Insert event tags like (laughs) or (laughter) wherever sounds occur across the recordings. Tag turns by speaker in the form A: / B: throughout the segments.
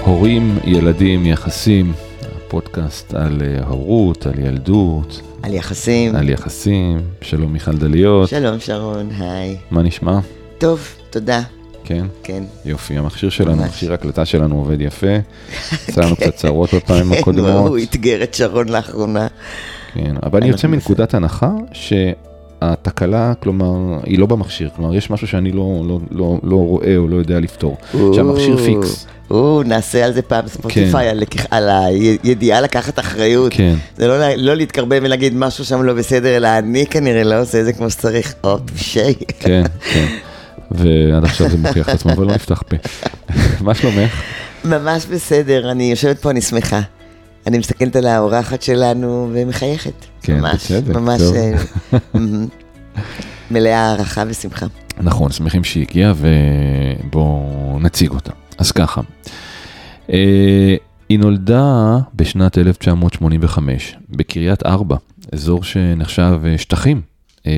A: הורים, ילדים, יחסים, פודקאסט על אה, הורות, על ילדות,
B: על יחסים.
A: על יחסים. שלום מיכל דליות,
B: שלום שרון, היי.
A: מה נשמע?
B: טוב, תודה.
A: כן,
B: כן,
A: יופי, המכשיר שלנו,
B: ממש.
A: מכשיר ההקלטה שלנו עובד
B: (laughs)
A: יפה. עשה לנו קצת צרות בפעמים
B: כן, הוא-
A: הקודמות.
B: הוא אתגר את שרון לאחרונה.
A: כן, אבל אני יוצא
B: אנחנו
A: מנקודת הנחה שהתקלה, כלומר, היא לא במכשיר, כלומר, יש משהו שאני לא, לא, לא, לא רואה או לא יודע לפתור, שהמכשיר
B: או,
A: פיקס.
B: או, נעשה על זה פעם ספוטיפיי, על לקיח- על הידיעה לקחת אחריות.
A: כן.
B: זה לא לה- לא להתקרבן ולהגיד משהו שם לא בסדר, אלא אני כנראה לא עושה את זה כמו שצריך. או, פשי.
A: כן, כן. ועד עכשיו זה מוכיח את עצמו, אבל לא נפתח פה. (laughs) מה שלומך?
B: (laughs) ממש בסדר, אני יושבת פה, אני שמחה. אני מסתכלת על האורחת שלנו ומחייכת.
A: כן,
B: ממש,
A: בצדק,
B: ממש
A: טוב. (laughs)
B: אה, מ- מלאה הערכה ושמחה.
A: נכון, שמחים שהיא הגיעה ובואו נציג אותה. אז ככה, אה, היא נולדה בשנת 1985 בקריית ארבע, אזור שנחשב אה, שטחים, אה,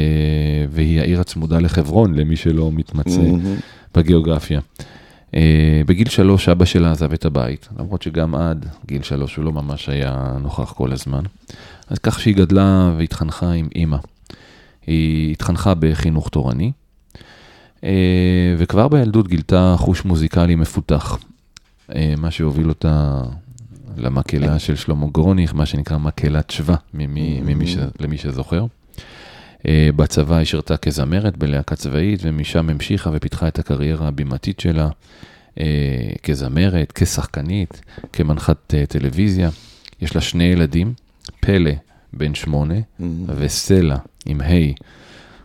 A: והיא העיר הצמודה לחברון, למי שלא מתמצא
B: מהמם.
A: בגיאוגרפיה. אה, בגיל שלוש אבא שלה עזב את הבית, למרות שגם עד גיל שלוש הוא לא ממש היה נוכח כל הזמן. אז כך שהיא גדלה והתחנכה עם אימא. היא התחנכה בחינוך תורני, אה, וכבר בילדות גילתה חוש מוזיקלי מפותח, אה, מה שהוביל אותה למקהלה של שלמה גרוניך, מה שנקרא מקהלת שווה, ממי, ממי ש, למי שזוכר. אה, בצבא היא שירתה כזמרת בלהקה צבאית, ומשם המשיכה ופיתחה את הקריירה הבימתית שלה אה, כזמרת, כשחקנית, כמנחת אה, טלוויזיה. יש לה שני ילדים, פלא בן שמונה וסלע עם ה',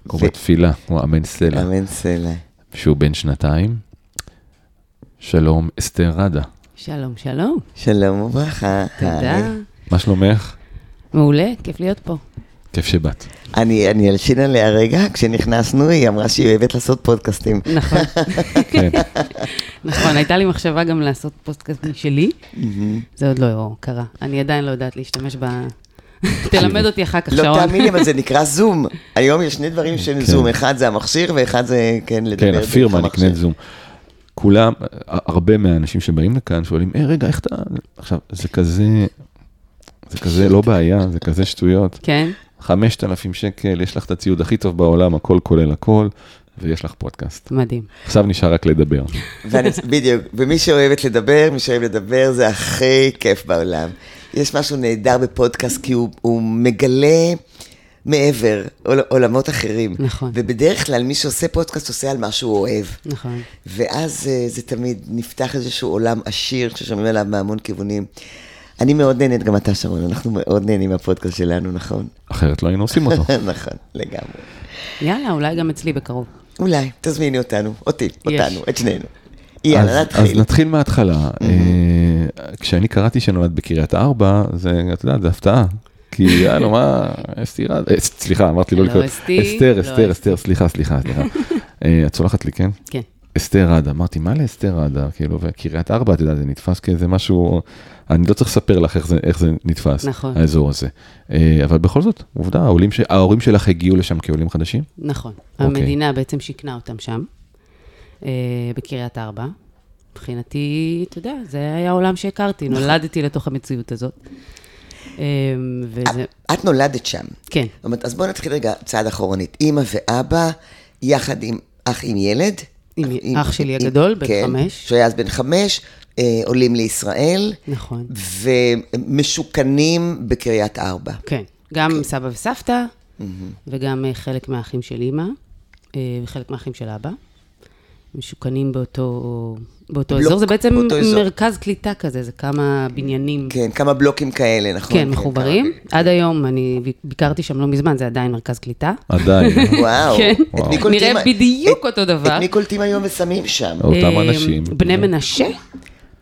A: כמו
B: ו-
A: בתפילה, כמו אמן סלע,
B: אמן סלע.
A: שהוא בן שנתיים. שלום, אסתר ראדה,
C: שלום, שלום.
B: שלום וברכה.
C: תודה.
B: היי.
A: מה שלומך?
C: מעולה, כיף להיות פה.
A: כיף שבאת.
B: אני, אני אלשין עליה רגע, כשנכנסנו היא אמרה שהיא אוהבת לעשות פודקאסטים.
C: נכון,
A: כן,
C: נכון, הייתה לי מחשבה גם לעשות פודקאסט משלי, זה עוד לא קרה. אני עדיין לא יודעת להשתמש ב...
B: (laughs)
C: תלמד אותי אחר כך,
B: לא
C: שרון.
B: תאמיני, אבל זה נקרא זום. היום יש שני דברים של
A: כן.
B: זום, אחד זה המכשיר ואחד זה, כן, לדבר.
A: כן,
B: דרך
A: הפירמה
B: המכשיר.
A: נקנית זום. כולם, הרבה מהאנשים שבאים לכאן שואלים, היי, רגע, איך אתה... עכשיו, זה כזה, זה כזה לא בעיה, זה כזה שטויות.
C: כן,
A: 5,000 שקל, יש לך את הציוד הכי טוב בעולם, הכל כולל הכל, ויש לך פודקאסט.
C: מדהים.
A: עכשיו נשאר רק לדבר.
B: ואני, בדיוק, ומי שאוהבת לדבר, מי שאוהב לדבר, זה הכי כיף בעולם. יש משהו נהדר בפודקאסט, כי הוא, הוא מגלה מעבר, עול, עולמות אחרים.
C: נכון.
B: ובדרך כלל מי שעושה פודקאסט עושה על מה שהוא אוהב.
C: נכון.
B: ואז אה, זה תמיד נפתח איזשהו עולם עשיר ששומעים עליו מהמון כיוונים. אני מאוד נהנית, גם אתה שרון, אנחנו מאוד נהנים מהפודקאסט שלנו, נכון?
A: אחרת לא היינו עושים אותו.
B: (laughs) נכון, לגמרי.
C: יאללה, אולי גם אצלי בקרוב.
B: אולי, תזמיני אותנו, אותי,
C: יש.
B: אותנו, את שנינו. יאללה,
A: אז- אז
B: נתחיל.
A: נתחיל מההתחלה. אה, כשאני קראתי שנולד בקריית ארבע, זה, את יודעת, זה הפתעה. כי יאללה, מה, אסתירה, אה, סליחה, אמרתי לא
C: לא
A: לקרוא.
C: אסתי,
A: אסתר,
C: לא
A: אסתר,
C: אסתי.
A: אסתר, סליחה, סליחה,
C: (laughs)
A: סליחה. אה, את סולחת לי, כן?
C: כן.
A: אסתר עדה, אמרתי, מה לאסתר עדה? כאילו, וקריית ארבע, את יודעת, זה נתפס כאיזה משהו, אני לא צריך לספר לך איך זה, איך זה נתפס,
C: נכון.
A: האזור הזה. אה, אבל בכל זאת, עובדה, העולים ש... ההורים שלך הגיעו לשם כעולים חדשים?
C: נכון.
A: אוקיי.
C: המדינה בעצם שיכנה אותם שם, אה, בקריית ארבע. מבחינתי, אתה יודע, זה היה העולם שהכרתי,
B: נכון.
C: נולדתי לתוך המציאות הזאת. אה, וזה,
B: את נולדת שם.
C: כן,
B: זאת אומרת, אז בואו נתחיל רגע צעד אחורנית. אימא ואבא, יחד עם אח עם ילד.
C: עם אח שלי הגדול, בן
B: כן,
C: חמש.
B: שהיה אז בן חמש, אה, עולים לישראל,
C: נכון.
B: ומשוכנים בקריית ארבע.
C: כן, גם
B: אוקיי.
C: סבא וסבתא, וגם אה, חלק מהאחים של אימא, אה, וחלק מהאחים של אבא. משוכנים באותו, באותו
B: בלוק,
C: אזור, זה בעצם
B: באותו אזור.
C: מרכז קליטה כזה, זה כמה בניינים, כן,
B: כן, כמה בלוקים כאלה, נכון?
C: מחוברים. עד היום, אני ב- ביקרתי שם לא מזמן, זה עדיין מרכז קליטה.
A: עדיין,
C: (laughs)
B: כמה- וואו.
C: כן.
B: את מי
C: וואו.
B: קולטים-
C: נראה בדיוק
B: את-
C: אותו דבר.
B: את מי קולטים היום ושמים שם?
A: אותם
C: אה,
A: אנשים.
C: בני
B: אוקיי.
C: מנשה,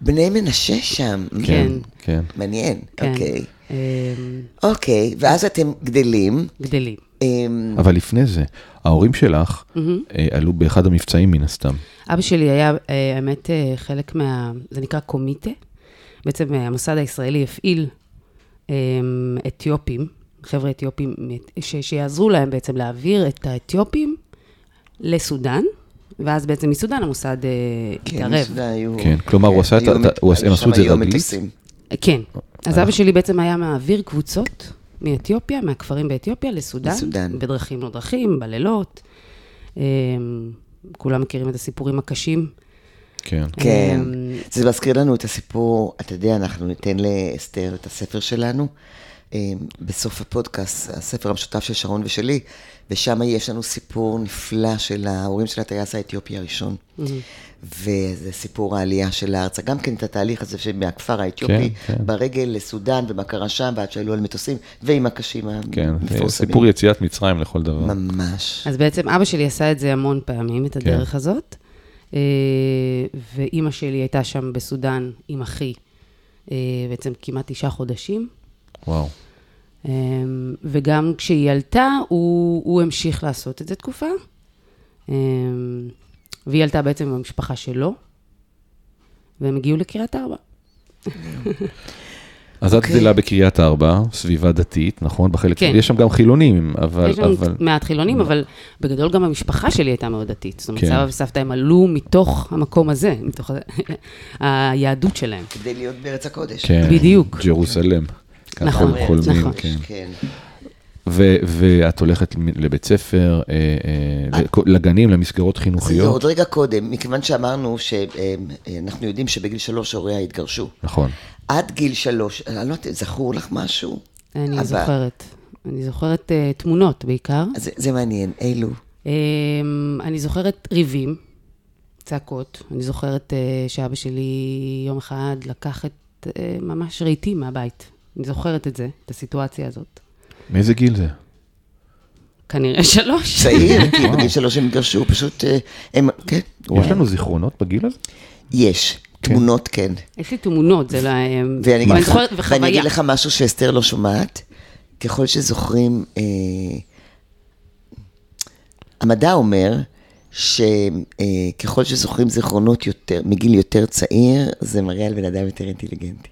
B: בני מנשה שם.
A: אוקיי. כן,
C: כן.
A: כן.
B: מעניין,
C: כן.
B: אוקיי.
C: אה,
B: אוקיי, ואז אתם גדלים.
C: גדלים.
B: אמ,
A: אבל לפני זה, ההורים שלך
C: Mm-hmm.
A: אה, עלו באחד המבצעים מן הסתם.
C: אבא שלי היה, אה, האמת, אה, חלק מה... זה נקרא קומיטה. בעצם אה, המוסד הישראלי הפעיל אה, אתיופים, חבר'ה אתיופים, אה, ש- שיעזרו להם בעצם להעביר את האתיופים לסודאן, ואז בעצם מסודן המוסד אה, התערב.
B: מסודן היו-
A: כן, כלומר, הוא עשה את
B: היו
A: ה-
B: מט-
A: הוא עשה- הם
B: היו
A: עשו את זה
B: שם היו
A: רגלית?
B: מטוסים.
C: כן. אז
A: אה.
C: אבא שלי בעצם היה מעביר קבוצות מאתיופיה, מהכפרים באתיופיה לסודן.
B: לסודן.
C: בדרכים לא דרכים, בלילות. אה, כולם מכירים את הסיפורים הקשים.
A: כן.
B: כן.
C: אמ,
B: זה מזכיר לנו את הסיפור, אתה יודע, אנחנו ניתן לאסתר את הספר שלנו אמ, בסוף הפודקאסט, הספר המשותף של שרון ושלי, ושם יש לנו סיפור נפלא של ההורים של הטייס האתיופי הראשון. וזה סיפור העלייה שלה ארצה, גם כן את התהליך הזה שמהכפר האתיופי,
A: כן, כן.
B: ברגל לסודאן, ומה קרה שם, ועד שעלו על מטוסים, ועם הקשים
A: כן,
B: המפורסמים.
A: סיפור יציאת מצרים לכל דבר.
B: ממש.
C: אז בעצם אבא שלי עשה את זה המון פעמים,
A: כן.
C: את הדרך הזאת. אה, ואימא שלי הייתה שם בסודאן עם אחי, אה, בעצם כמעט תשעה חודשים.
A: וואו.
C: אמ, וגם כשהיא עלתה, הוא, הוא המשיך לעשות את זה תקופה. אמ, והיא עלתה בעצם עם המשפחה שלו, והם הגיעו לקריית ארבע.
A: אז את
B: אוקיי.
A: גדלה בקריית ארבע, סביבה דתית, נכון? בחלק
C: כן.
A: של... יש שם גם חילונים, אבל...
C: יש לנו
A: אבל...
C: מעט חילונים, אבל בגדול גם המשפחה שלי הייתה מאוד דתית. זאת אומרת,
A: כן.
C: סבא וסבתא הם עלו מתוך המקום הזה, מתוך ה- (laughs) היהדות שלהם.
B: כדי להיות בארץ הקודש.
A: כן,
C: בדיוק.
A: ג'רוסלם. ככה
C: נכון,
A: הם חולמים,
C: נכון.
A: כן.
B: כן.
A: ו- ואת הולכת מ- לבית ספר, אה, אה, לכ- לגנים, למסגרות
B: זה
A: חינוכיות.
B: עוד רגע קודם, מכיוון שאמרנו שאנחנו יודעים שבגיל שלוש הוריה התגרשו.
A: נכון.
B: עד גיל שלוש, אני לא יודעת, זכור לך משהו?
C: אני
B: אבל-
C: זוכרת. אני זוכרת אה, תמונות בעיקר.
B: אז זה- זה מעניין, אילו.
C: אמ, אני זוכרת ריבים, צעקות. אני זוכרת אה, שאבא שלי יום אחד לקח את אה, ממש רהיטים מהבית. אני זוכרת את זה, את הסיטואציה הזאת.
A: מאיזה גיל זה?
C: כן. כנראה (laughs) שלוש.
B: צעיר, כי בגיל שלוש הם התגרשו, פשוט אה, הם, כן,
A: יש לנו זיכרונות בגיל
C: (laughs)
A: הזה?
B: יש, תמונות כן.
C: יש לי תמונות, זה לא... אמ,
B: ואני אגיד
C: אבל
B: לך-
C: זוכרת-
B: ואני
C: וחוויה.
B: אגיד לך משהו שאסתר לא שומעת, ככל שזוכרים, אה, המדע אומר שככל שזוכרים זיכרונות יותר, מגיל יותר צעיר, זה מראה על בן אדם יותר אינטליגנטי.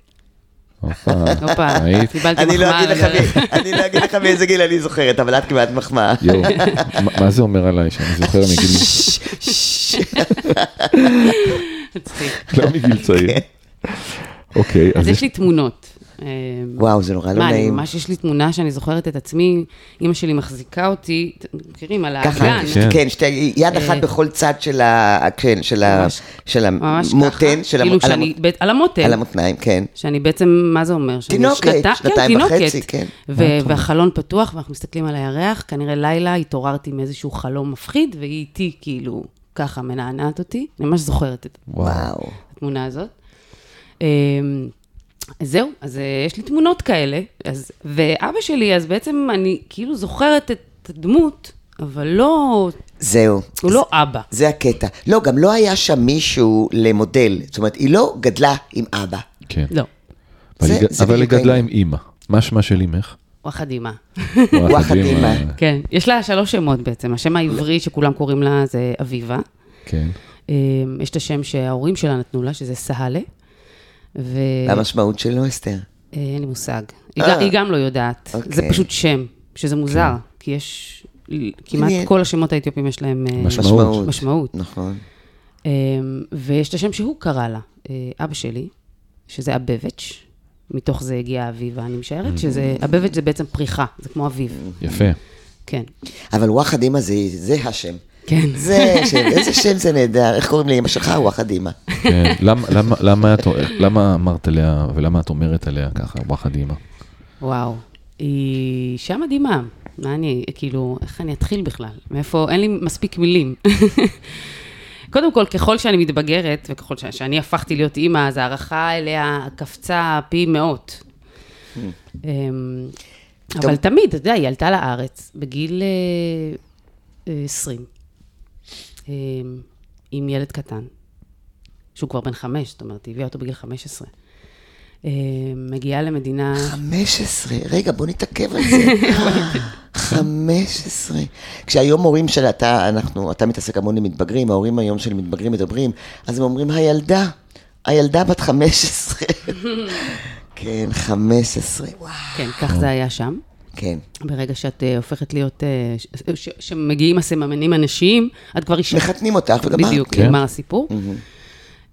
A: הופה,
C: הופה,
A: ראית?
C: קיבלתי
B: אני לא
C: מחמאה.
B: אגיד
C: על
B: לך
C: ה-
B: מי- אני לא אגיד לך מאיזה גיל אני זוכרת, אבל את קיבלת מחמאה.
C: (laughs)
A: יואו, מה- מה זה אומר עליי שאני זוכר מגיל...
C: מצחיק.
A: לא מגיל צעיר.
B: כן.
A: אוקיי,
C: כן. אז
A: אז
C: יש
A: יש...
C: לי תמונות. אמ,
B: וואו, זה נורא לא
C: מה, אני
B: נעים.
C: ממש, יש לי תמונה שאני זוכרת את עצמי, אימא שלי מחזיקה אותי, אתם מכירים, על
B: ככה,
C: האגן.
A: כן.
B: כן, שתי, יד אחת
C: אה,
B: בכל צד של ה... כן, של ה...
C: ממש-
B: של
C: ממש
B: המותן,
C: ככה.
B: של
C: כאילו
B: המ- על
C: שאני,
B: המ-
C: בית- על המותן.
B: על המותניים, כן.
C: שאני בעצם, מה זה אומר? שאני
B: תינוקת,
C: שנתה-
B: שנתיים
C: תינוקת.
B: וחצי, כן.
C: ו- והחלון פתוח, ואנחנו מסתכלים על הירח, כנראה לילה התעוררתי מאיזשהו חלום מפחיד, והיא איתי כאילו ככה מנענעת אותי. אני ממש זוכרת את
B: וואו.
C: התמונה הזאת. אמ, אז זהו, אז אה, יש לי תמונות כאלה. אז, ואבא שלי, אז בעצם אני כאילו זוכרת את הדמות, אבל לא,
B: זהו.
C: הוא לא אבא.
B: זה הקטע. לא, גם לא היה שם מישהו למודל. זאת אומרת, היא לא גדלה עם אבא.
A: כן.
C: לא,
A: אבל
B: זה-
A: היא-
B: זה
A: אבל היא
B: בדיוק
A: גדלה
B: העניין.
A: עם אימא. מה שמה של אימך?
C: וואחד אימה.
B: וואחד אימא.
C: כן, יש לה שלוש שמות בעצם. השם העברי שכולם קוראים לה זה אביבה.
A: כן.
C: אמ, יש את השם שההורים שלה נתנו לה, שזה סהלה. ו...
B: והמשמעות שלו, אסתר.
C: אה, אין לי מושג. היא
B: אה.
C: גם- היא גם לא יודעת. זה
B: אוקיי. כן.
C: פשוט שם, שזה מוזר, כי יש... כמעט
B: מעניין.
C: כל השמות האתיופים יש להם אה,
A: משמעות.
C: משמעות.
B: נכון.
C: אמ, ויש את השם שהוא קרא לה, אה, אבא שלי, שזה אבבץ', מתוך זה הגיעה אביבה, אני משערת, שזה... אבבץ' זה בעצם פריחה, זה כמו אביב,
B: Mm.
A: יפה.
C: (laughs) כן.
B: אבל וואחד אימא זה, זה השם.
C: כן.
B: זה שם, איזה שם זה נהדר. איך קוראים לאמא שלך? וואחד אימא.
A: כן. למה- למה- למה את- למה אמרת עליה, ולמה את אומרת עליה ככה, וואחד אימא?
C: וואו, היא אישה מדהימה. מה אני, כאילו, איך אני אתחיל בכלל? מאיפה, אין לי מספיק מילים. (laughs) קודם כל, ככל שאני מתבגרת, וככל ש- שאני הפכתי להיות אימא, אז ההערכה אליה קפצה פי מאות. אמ, אבל
B: טוב.
C: תמיד, אתה יודע, היא עלתה לארץ בגיל אה, אה, 20, אמ, עם ילד קטן, שהוא כבר בן חמש, זאת אומרת, היא הביאה אותו בגיל 15. אמ, מגיעה למדינה...
B: (laughs) 15, רגע, בוא נתעכב על
C: (laughs)
B: זה. 15. כשהיום הורים של אתה, אנחנו, אתה מתעסק המון עם מתבגרים, ההורים היום של מתבגרים מדברים, אז הם אומרים, הילדה, הילדה בת
C: (laughs)
B: 15. כן, 15, וואו.
C: כן, כך זה היה שם.
B: כן.
C: ברגע שאת אה, הופכת להיות, אה, ש- ש- שמגיעים הסממנים הנשיים, את כבר אישה.
B: מחתנים אותך Mm-hmm. וגמרת.
C: בדיוק,
A: נכון, כן.
C: נגמר הסיפור.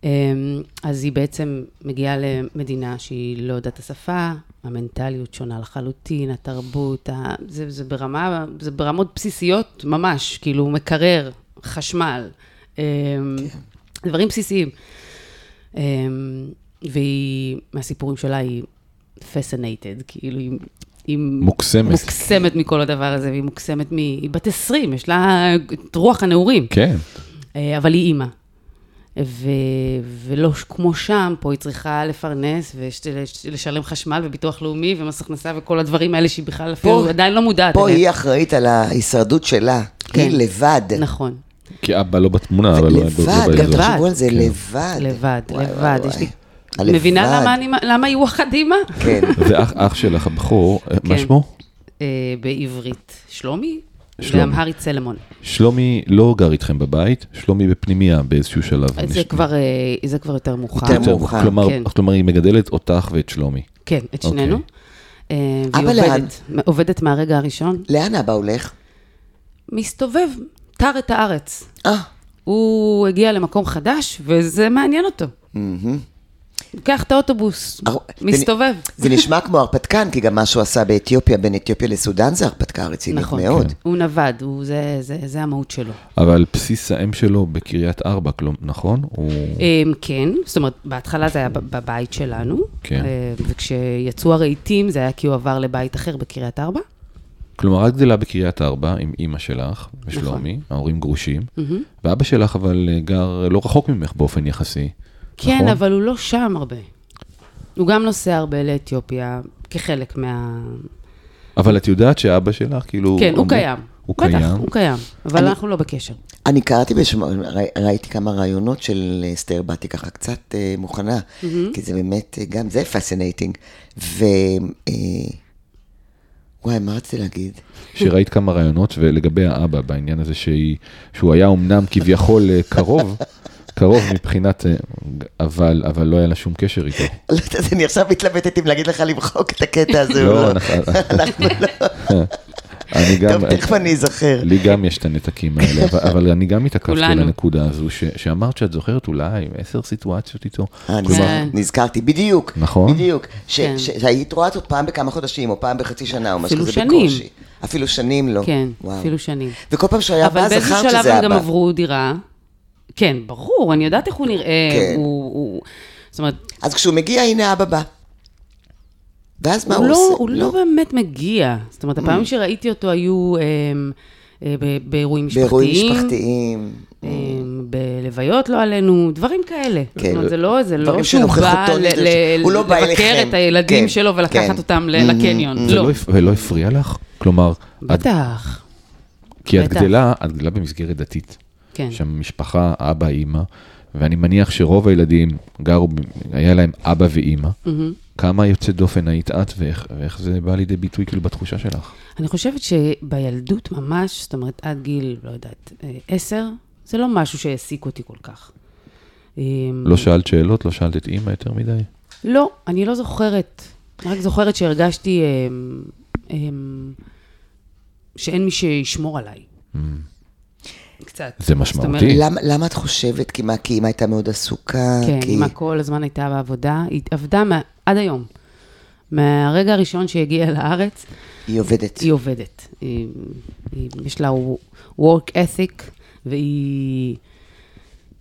C: אמ, אז היא בעצם מגיעה למדינה שהיא לא יודעת את השפה, המנטליות שונה לחלוטין, התרבות, ה... זה, זה, ברמה, זה ברמות בסיסיות ממש, כאילו מקרר, חשמל, אמ,
A: כן.
C: דברים בסיסיים. אמ, והיא, מהסיפורים שלה היא fascinated, כאילו היא... היא
A: מוקסמת.
C: מוקסמת מכל הדבר הזה, והיא מוקסמת מ... היא בת 20, יש לה את רוח הנעורים.
A: כן.
C: אה, אבל היא אימא. ו... ולא ש- כמו שם, פה היא צריכה לפרנס ולשלם חשמל וביטוח לאומי ומס הכנסה וכל הדברים האלה שהיא בכלל אפילו עדיין לא מודעת.
B: פה
C: אליהם.
B: היא אחראית על ההישרדות שלה.
C: כן.
B: היא לבד.
C: נכון,
A: כי אבא לא בתמונה, אבל לא לא
B: לבד,
A: באזור. כן.
C: לבד.
B: תחשבו על זה, לבד.
C: לבד,
B: וואי, וואי,
C: לבד. יש
B: וואי.
C: לי...
B: הלבד.
C: מבינה למה אני- למה היא ווחד אימא?
B: כן,
A: ואח אח שלך הבכור, אה, מה
C: כן.
A: שמו?
C: אה, בעברית. שלומי?
A: שלומי.
C: ואמהרית סלמון.
A: שלומי לא גר איתכם בבית, שלומי בפנימייה באיזשהו שלב.
C: זה
A: נש-
C: כבר, אה, זה כבר יותר מאוחר.
B: יותר מאוחר.
A: כלומר,
C: כן.
A: כלומר, היא מגדלת אותך ואת שלומי.
C: כן, את שנינו.
A: אוקיי.
C: אה, והיא
B: אבא לאן?
C: עובדת, עובדת מהרגע הראשון.
B: לאן אבא הולך?
C: מסתובב, טר את הארץ.
B: אה,
C: הוא הגיע למקום חדש, וזה מעניין אותו. לוקח את האוטובוס,
B: הר-
C: מסתובב.
B: זה נשמע כמו הרפתקן, כי גם מה שהוא עשה באתיופיה, בין אתיופיה לסודאן, זה הרפתקה רצינית
C: נכון,
B: מאוד.
C: כן. הוא נווד, הוא- זה- זה- זה המהות שלו.
A: אבל בסיס האם שלו בקריית ארבע, כלום, נכון? הוא...
C: אמ, כן, זאת אומרת, בהתחלה זה היה בב- בבית שלנו,
A: כן.
C: אמ, וכשיצאו הרהיטים זה היה כי הוא עבר לבית אחר בקריית ארבע.
A: כלומר, את גדלה בקריית ארבע עם אימא שלך ושלומי,
C: נכון.
A: ההורים גרושים, ואבא שלך אבל אה, גר לא רחוק ממך באופן יחסי.
C: כן,
A: נכון?
C: אבל הוא לא שם הרבה. הוא גם נוסע הרבה לאתיופיה, כחלק מה...
A: אבל את יודעת שאבא שלך, כאילו...
C: כן, הוא
A: אומר-
C: קיים.
A: הוא
C: בטח,
A: קיים.
C: הוא קיים, אבל
B: אני-
C: אנחנו לא בקשר.
B: אני קראתי, בשמו, ראי- ראיתי כמה רעיונות של אה, אסתר, באתי ככה קצת אה, מוכנה, כי זה באמת, אה, גם זה פסינטינג. ו... אה, וואי, מה רציתי להגיד?
A: שראית כמה רעיונות, ולגבי האבא, בעניין הזה שהיא, שהוא היה אמנם כביכול אה, קרוב, קרוב מבחינת, אה, אבל, אבל לא היה לה שום קשר איתו.
B: לא יודעת, אני עכשיו מתלבטת אם להגיד לך למחוק את הקטע הזה או
A: לא,
B: לא.
A: אנחנו (laughs) אני גם,
B: טוב, תכף אני אזכר.
A: לי גם יש את הנתקים האלה, אבל- אבל אני גם התעכבתי על
C: כולנו.
A: הנקודה הזו, ש- שאמרת שאת זוכרת אולי עשר סיטואציות איתו.
B: אה, נז-
A: כלומר,
C: כן.
B: נזכרתי, בדיוק.
A: נכון.
B: בדיוק. ש-
C: כן.
B: ש- שהיית רואה זאת פעם בכמה חודשים, או פעם בחצי שנה, או משהו
C: אפילו
B: כזה
C: שנים.
B: בקושי. אפילו שנים לא.
C: כן,
B: וואו.
C: אפילו שנים.
B: וכל פעם שהיה
C: אבל
B: בא,
C: באיזשהו
B: זכרת
C: שלב
B: שזה אבא.
C: הם גם עברו דירה. כן, ברור, אני יודעת איך הוא נראה.
B: כן.
C: הוא, הוא, זאת אומרת,
B: אז כשהוא מגיע, הנה אבא בא. ואז מה
C: הוא,
B: הוא
C: לא,
B: עושה? Mm.
C: הוא לא באמת מגיע. זאת אומרת, הפעמים שראיתי אותו היו אמ, אה, ב- באירועים משפחתיים.
B: באירועים משפחתיים.
C: אמ, בלוויות, לא עלינו, דברים כאלה.
B: כן.
C: כן. זאת אומרת, זה לא, זה
B: דברים
C: לא שהוא בא
B: שנוכחותו
C: ל-
B: נדרשת.
C: ל-
B: הוא לא בא
C: לבקר
B: אליכם.
C: את הילדים
B: כן,
C: שלו
B: כן.
C: ולקחת אותם ל- לקניון.
A: זה לא
C: לא,
A: הפ- ולא הפריע לך? כלומר, את-
C: בטח.
A: כי את
C: בטח.
A: גדלה, את גדלה במסגרת דתית.
C: כן.
A: שם משפחה, אבא, אימא, ואני מניח שרוב הילדים גרו, ב- היה להם אבא ואימא.
C: Mm-hmm.
A: כמה יוצא דופן היית את, ואיך, ואיך זה בא לידי ביטוי כאילו בתחושה שלך?
C: אני חושבת שבילדות ממש, זאת אומרת, עד גיל, לא יודעת, אה, עשר, זה לא משהו שהעסיק אותי כל כך. אה,
A: לא שאלת שאלות, לא שאלת את אימא יותר מדי?
C: לא, אני לא זוכרת. רק זוכרת שהרגשתי אה, אה, שאין מי שישמור עליי. קצת.
A: Mm. זה
C: זאת אומרת,
A: משמעותי.
B: למה, למה את חושבת? כי מה, כי אמא הייתה מאוד עסוקה?
C: כן,
B: אה, כי...
C: אימא כל הזמן הייתה בעבודה, היא עבדה מה, עד היום. מהרגע הראשון שהיא הגיעה לארץ,
B: היא עובדת.
C: היא עובדת. היא, היא, יש לה work ethic, והיא...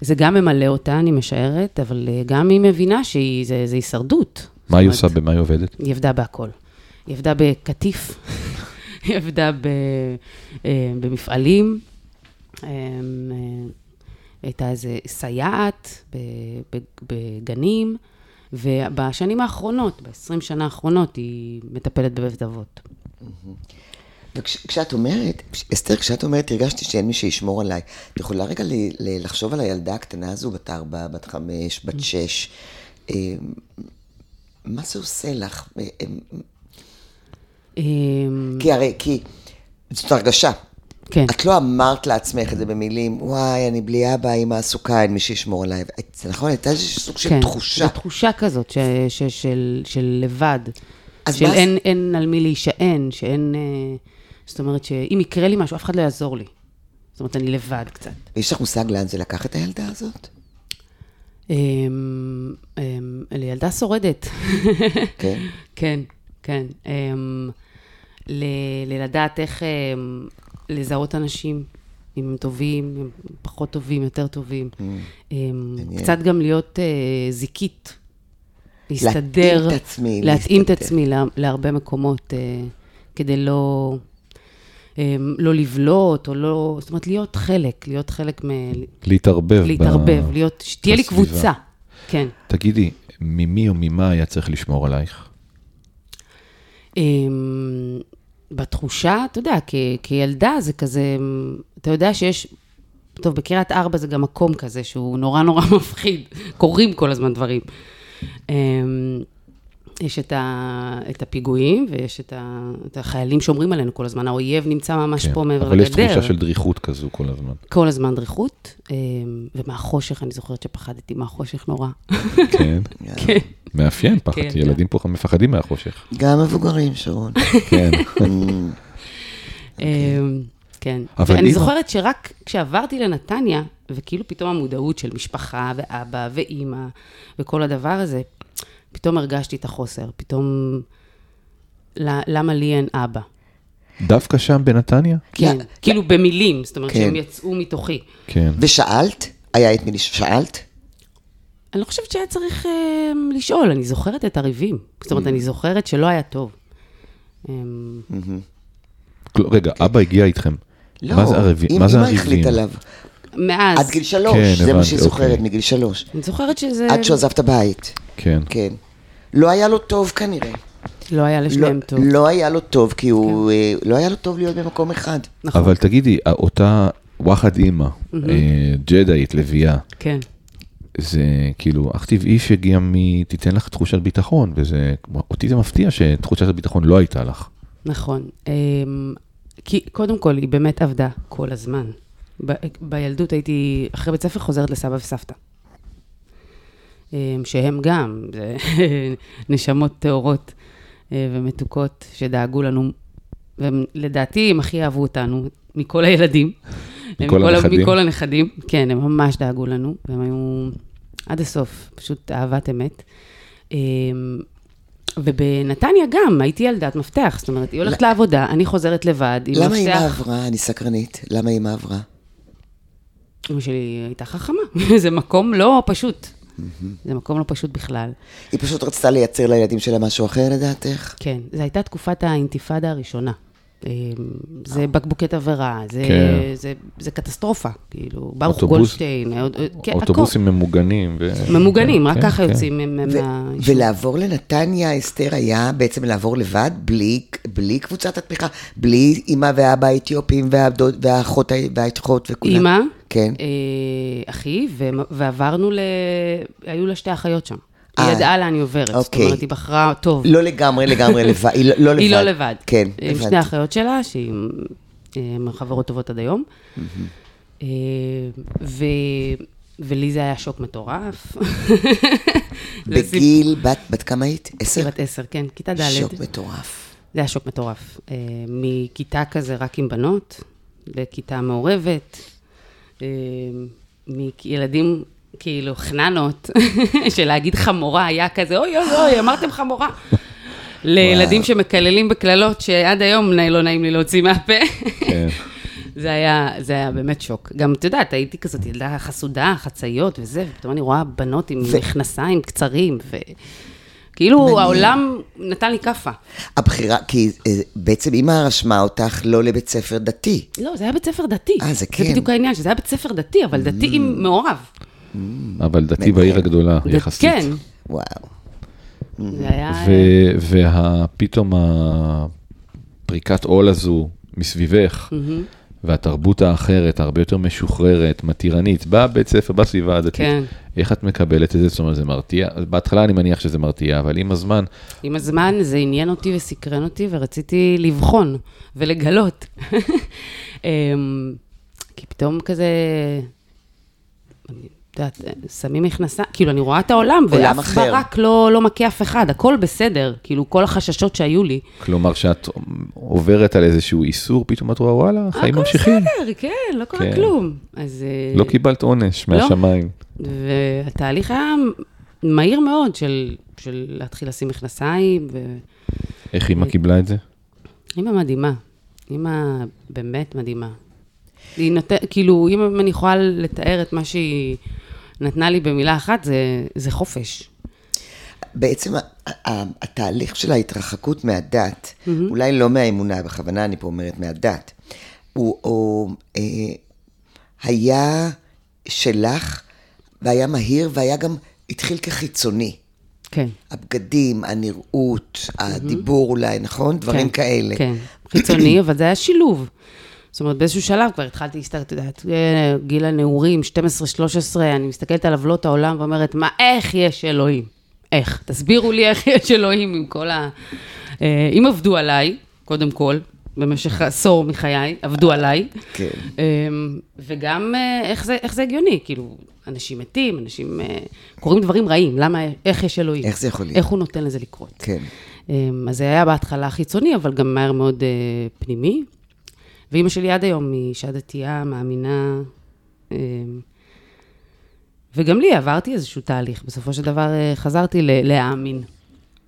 C: זה גם ממלא אותה, אני משערת, אבל אה, גם היא מבינה שהיא, זה, זה הישרדות.
A: מה היא
C: זאת
A: עושה,
C: אומרת,
A: במה היא עובדת?
C: היא עבדה בהכל. היא עבדה בקטיף, (laughs) היא עבדה ב, אה, במפעלים, אה, אה, הייתה איזה סייעת ב- ב- בגנים, ובשנים האחרונות, ב-20 שנה האחרונות, היא מטפלת בבית אבות.
B: וכשאת אומרת, כש- אסתר, כשאת אומרת, הרגשתי שאין מי שישמור עליי. את יכולה רגע ל, ל, לחשוב על הילדה הקטנה הזו, בת ארבע, בת חמש,
C: Mm.
B: בת שש. אה, מה זה עושה לך? אה, אה,
C: אה,
B: כי הרי, כי זאת הרגשה.
C: כן.
B: את לא אמרת לעצמך את זה במילים, וואי, אני בלי אבא, אמא עסוקה, אין מי שישמור עליי. זה נכון, הייתה איזשהו סוג של
C: כן,
B: תחושה.
C: זו תחושה כזאת ש, ש, של, של לבד.
B: אז
C: של
B: מה-
C: אין, אין על מי להישען, שאין... אה, זאת אומרת שאם יקרה לי משהו, אף אחד לא יעזור לי. זאת אומרת, אני לבד קצת.
B: יש לך מושג לאן זה לקח את הילדה הזאת?
C: אמ, אמ, לילדה שורדת. (laughs)
B: כן.
C: כן, כן. אמ, ל- ללדעת איך אמ, לזהות אנשים, אם הם טובים, אם הם פחות טובים, יותר טובים.
B: Mm. כן.
C: אמ,
B: מעניין.
C: קצת גם להיות אה, זיקית. להסתדר.
B: להתאים את עצמי,
C: להתאים את
B: להסתדר.
C: עצמי לה, להרבה מקומות, אה, כדי לא, אה, לא לבלוט, או לא... זאת אומרת, להיות חלק, להיות חלק מ...
A: להתערבב. ב-
C: להתערבב, להיות... שתהיה לי
A: בסביבה.
C: קבוצה. כן.
A: תגידי, ממי או ממה היה צריך לשמור עלייך?
C: אמ, בתחושה, אתה יודע, כ, כילדה זה כזה, אמ, אתה יודע שיש, טוב, בקריית ארבע זה גם מקום כזה שהוא נורא נורא (laughs) מפחיד, קורים כל הזמן דברים. אמ, יש את, ה, את הפיגועים ויש את, ה, את החיילים שומרים עלינו כל הזמן, האויב נמצא ממש
A: כן.
C: פה מעבר
A: אבל
C: לגדר.
A: יש תחושה של דריכות כזו כל הזמן.
C: כל הזמן דריכות, אמ, ומהחושך, אני זוכרת שפחדתי מהחושך נורא.
A: כן.
C: (laughs) כן.
A: מאפיין פחד,
C: כן,
A: ילדים פה מפחדים מהחושך.
B: גם מבוגרים,
C: (laughs)
B: שרון.
A: כן.
B: אמ, אוקיי.
C: אמ, כן.
A: אבל
C: ואני
A: אם-
C: זוכרת שרק כשעברתי לנתניה, וכאילו פתאום המודעות של משפחה ואבא ואימא וכל הדבר הזה, פתאום הרגשתי את החוסר. פתאום, ל- למה לי אין אבא?
A: (laughs) דווקא שם בנתניה?
C: כן. כאילו במילים, זאת אומרת
B: כן.
C: שהם יצאו מתוכי.
A: כן.
B: ושאלת? היה את מי לש- שאלת?
C: אני לא חושבת שהיה צריך אמ, לשאול, אני זוכרת את הריבים. זאת
B: Mm.
C: אומרת, אני זוכרת שלא היה טוב. אמ,
A: כל- רגע, אבא הגיע איתכם. מה זה
B: לא, אם-
A: הריבים? מה זה
B: אמא
A: הריבים?
B: החליטה עליו.
C: מאז,
B: עד גיל
A: כן,
B: שלוש, זה מה
A: הבנתי,
B: שהיא זוכרת,
A: אוקיי.
B: מגיל שלוש.
C: אני זוכרת שזה
B: עד שהוא עזב את הבית,
A: כן.
B: כן. לא היה לו טוב כנראה.
C: לא היה לשניהם
B: לא-
C: טוב.
B: לא היה לו טוב, כי הוא... אה, לא היה לו טוב להיות במקום אחד.
C: נכון.
A: אבל תגידי, אותה וואחד אימא, אה, ג'דאית, לביאה,
C: כן.
A: זה כאילו אך טבעי שגם היא תיתן לך תחושת ביטחון, וזה, כמו- אותי זה מפתיע שתחושת הביטחון לא הייתה לך.
C: נכון. אמ, כי קודם כל, היא באמת עבדה כל הזמן. ב- בילדות הייתי, אחרי בית ספר חוזרת לסבא וסבתא. אמ, שהם גם זה (laughs) נשמות טהורות אה, ומתוקות שדאגו לנו, והם לדעתי הם הכי אהבו אותנו, מכל הילדים. הם
A: מכל
C: ה-
A: הנכדים?
C: מכל הנכדים, כן, הם ממש דאגו לנו, והם היו עד הסוף, פשוט אהבת אמת. אמ, ובנתניה גם, הייתי ילדת מפתח, זאת אומרת, היא הולכת לעבודה, אני חוזרת לבד, עם
B: למה אמא
C: מפתח.
B: עברה? אני סקרנית. למה אמא עברה?
C: אמא שלי הייתה חכמה, (laughs) זה מקום לא פשוט. זה מקום לא פשוט בכלל.
B: היא פשוט רצתה לייצר לילדים שלה משהו אחר, לדעתך?
C: כן, זו הייתה תקופת האינתיפאדה הראשונה. אמ, זה בקבוקי תבערה, זה,
A: אה. כן.
C: זה, זה קטסטרופה, כאילו, ברוך
A: אוטובוס-
C: גולדשטיין, עוד- עוד- כן, הכל.
A: אוטובוסים ממוגנים. ו-
C: ממוגנים, רק
A: כן,
C: ככה
A: כן.
C: יוצאים הם- הם
B: ו-
C: מה...
B: ולעבור לנתניה, אסתר, היה בעצם לעבור לבד, בלי, בלי קבוצת התמיכה, בלי אמא ואבא האתיופים והדוד- והאחות ה- והאחות וכולם.
C: אימא,
B: כן.
C: אה, אחי, ו- ועברנו ל... היו לה שתי אחיות שם. היא
B: אה.
C: ידעה לאן היא עוברת, זאת
B: אוקיי.
C: אומרת, היא בחרה טוב.
B: לא לגמרי,
C: (laughs)
B: לגמרי לבד. היא לא- לא לבד.
C: היא לא לבד.
B: כן,
C: עם
B: הבנתי.
C: שתי האחיות שלה, שהיא הן חברות טובות עד היום.
B: Mm-hmm.
C: אה, ו... ולי זה היה שוק מטורף. זה סיפור-
B: בגיל, בת, בת כמה היית? עשר?
C: בת עשר, כן, כיתה ד'.
B: שוק מטורף.
C: זה היה שוק מטורף. אה, מכיתה כזה רק עם בנות, לכיתה מעורבת, אה, מילדים כאילו חננות, (laughs) שלהגיד חמורה היה כזה, אוי אוי אוי, אמרתם חמורה. לילדים שמקללים בקללות, שעד היום לא נעים לי להוציא מהפה.
A: כן.
C: (laughs) זה היה, זה היה באמת שוק. גם, את יודעת, הייתי כזאת ילדה חסודה, חצאיות וזה, ופתאום אני רואה בנות עם
B: ו-
C: מכנסיים קצרים, וכאילו העולם נתן לי כאפה.
B: הבחירה, כי אה, בעצם אימא רשמה אותך לא לבית ספר דתי.
C: לא, זה היה בית ספר דתי.
B: אה, זה כן. Mm.
C: זה בדיוק העניין, שזה היה בית ספר דתי, אבל דתי עם מעורב.
A: אבל דתי בעיר הגדולה,
C: ד-
A: יחסית.
C: כן,
B: וואו.
C: זה היה... אה,
A: ופתאום הפריקת עול הזו מסביבך,
C: Mm-hmm.
A: והתרבות האחרת, הרבה יותר משוחררת, מתירנית, בבית ספר, בסביבה הדתית,
C: כן.
A: איך את מקבלת את זה? זאת אומרת, זה מרתיע? בהתחלה אני מניח שזה מרתיע, אבל עם הזמן,
C: עם הזמן זה עניין אותי וסקרן אותי, ורציתי לבחון ולגלות. (laughs) אמ, כי פתאום כזה... אני את יודעת, שמים מכנסה, כאילו, אני רואה את העולם,
B: עולם
C: ואף
B: אחר.
C: ברק לא, לא מכה אף אחד, הכל בסדר. כאילו, כל החששות שהיו לי.
A: כלומר, שאת עוברת על איזשהו איסור, פתאום את רואה, וואלה, החיים ממשיכים.
C: הכל בסדר, כן, לא קורה
A: כן.
C: כלום. אז... אה,
A: לא קיבלת עונש
C: לא.
A: מהשמיים.
C: והתהליך היה מהיר מאוד של, של להתחיל לשים מכנסיים, ואימא
A: איך אימא
C: אה.
A: קיבלה את זה?
C: מדהימה, אימא באמת מדהימה. היא נות... כאילו, אם אני יכולה לתאר את מה שהיא נתנה לי במילה אחת, זה, זה חופש.
B: בעצם ה- ה- התהליך של ההתרחקות מהדת, אולי לא מהאמונה, בכוונה אני פה אומרת מהדת, הוא הוא, אה, היה שלך, והיה מהיר, והיה גם, התחיל כחיצוני.
C: כן.
B: הבגדים, הנראות, הדיבור אולי, נכון? דברים
C: כן,
B: כאלה.
C: כן, חיצוני, אבל זה היה שילוב. זאת אומרת, באיזשהו שלב כבר התחלתי, להסתכל- את יודעת, אה, גיל הנעורים, 12-13, אני מסתכלת על עוולות העולם ואומרת, מה, איך יש אלוהים? איך? תסבירו לי איך יש אלוהים עם כל ה... אה, אם עבדו עליי, קודם כל, במשך עשור מחיי, עבדו עליי.
B: כן.
C: אה, וגם אה, איך זה, איך זה הגיוני, כאילו, אנשים מתים, אנשים אה, קורים דברים רעים, למה, איך יש אלוהים?
B: איך זה יכול להיות?
C: איך הוא נותן לזה לקרות?
B: כן.
C: אמ, אז זה היה בהתחלה חיצוני, אבל גם מהר מאוד אה, פנימי. ואימא שלי עד היום היא אישה דתייה, מאמינה. אמ, וגם לי עברתי איזשהו תהליך. בסופו של דבר אה, חזרתי ל- להאמין.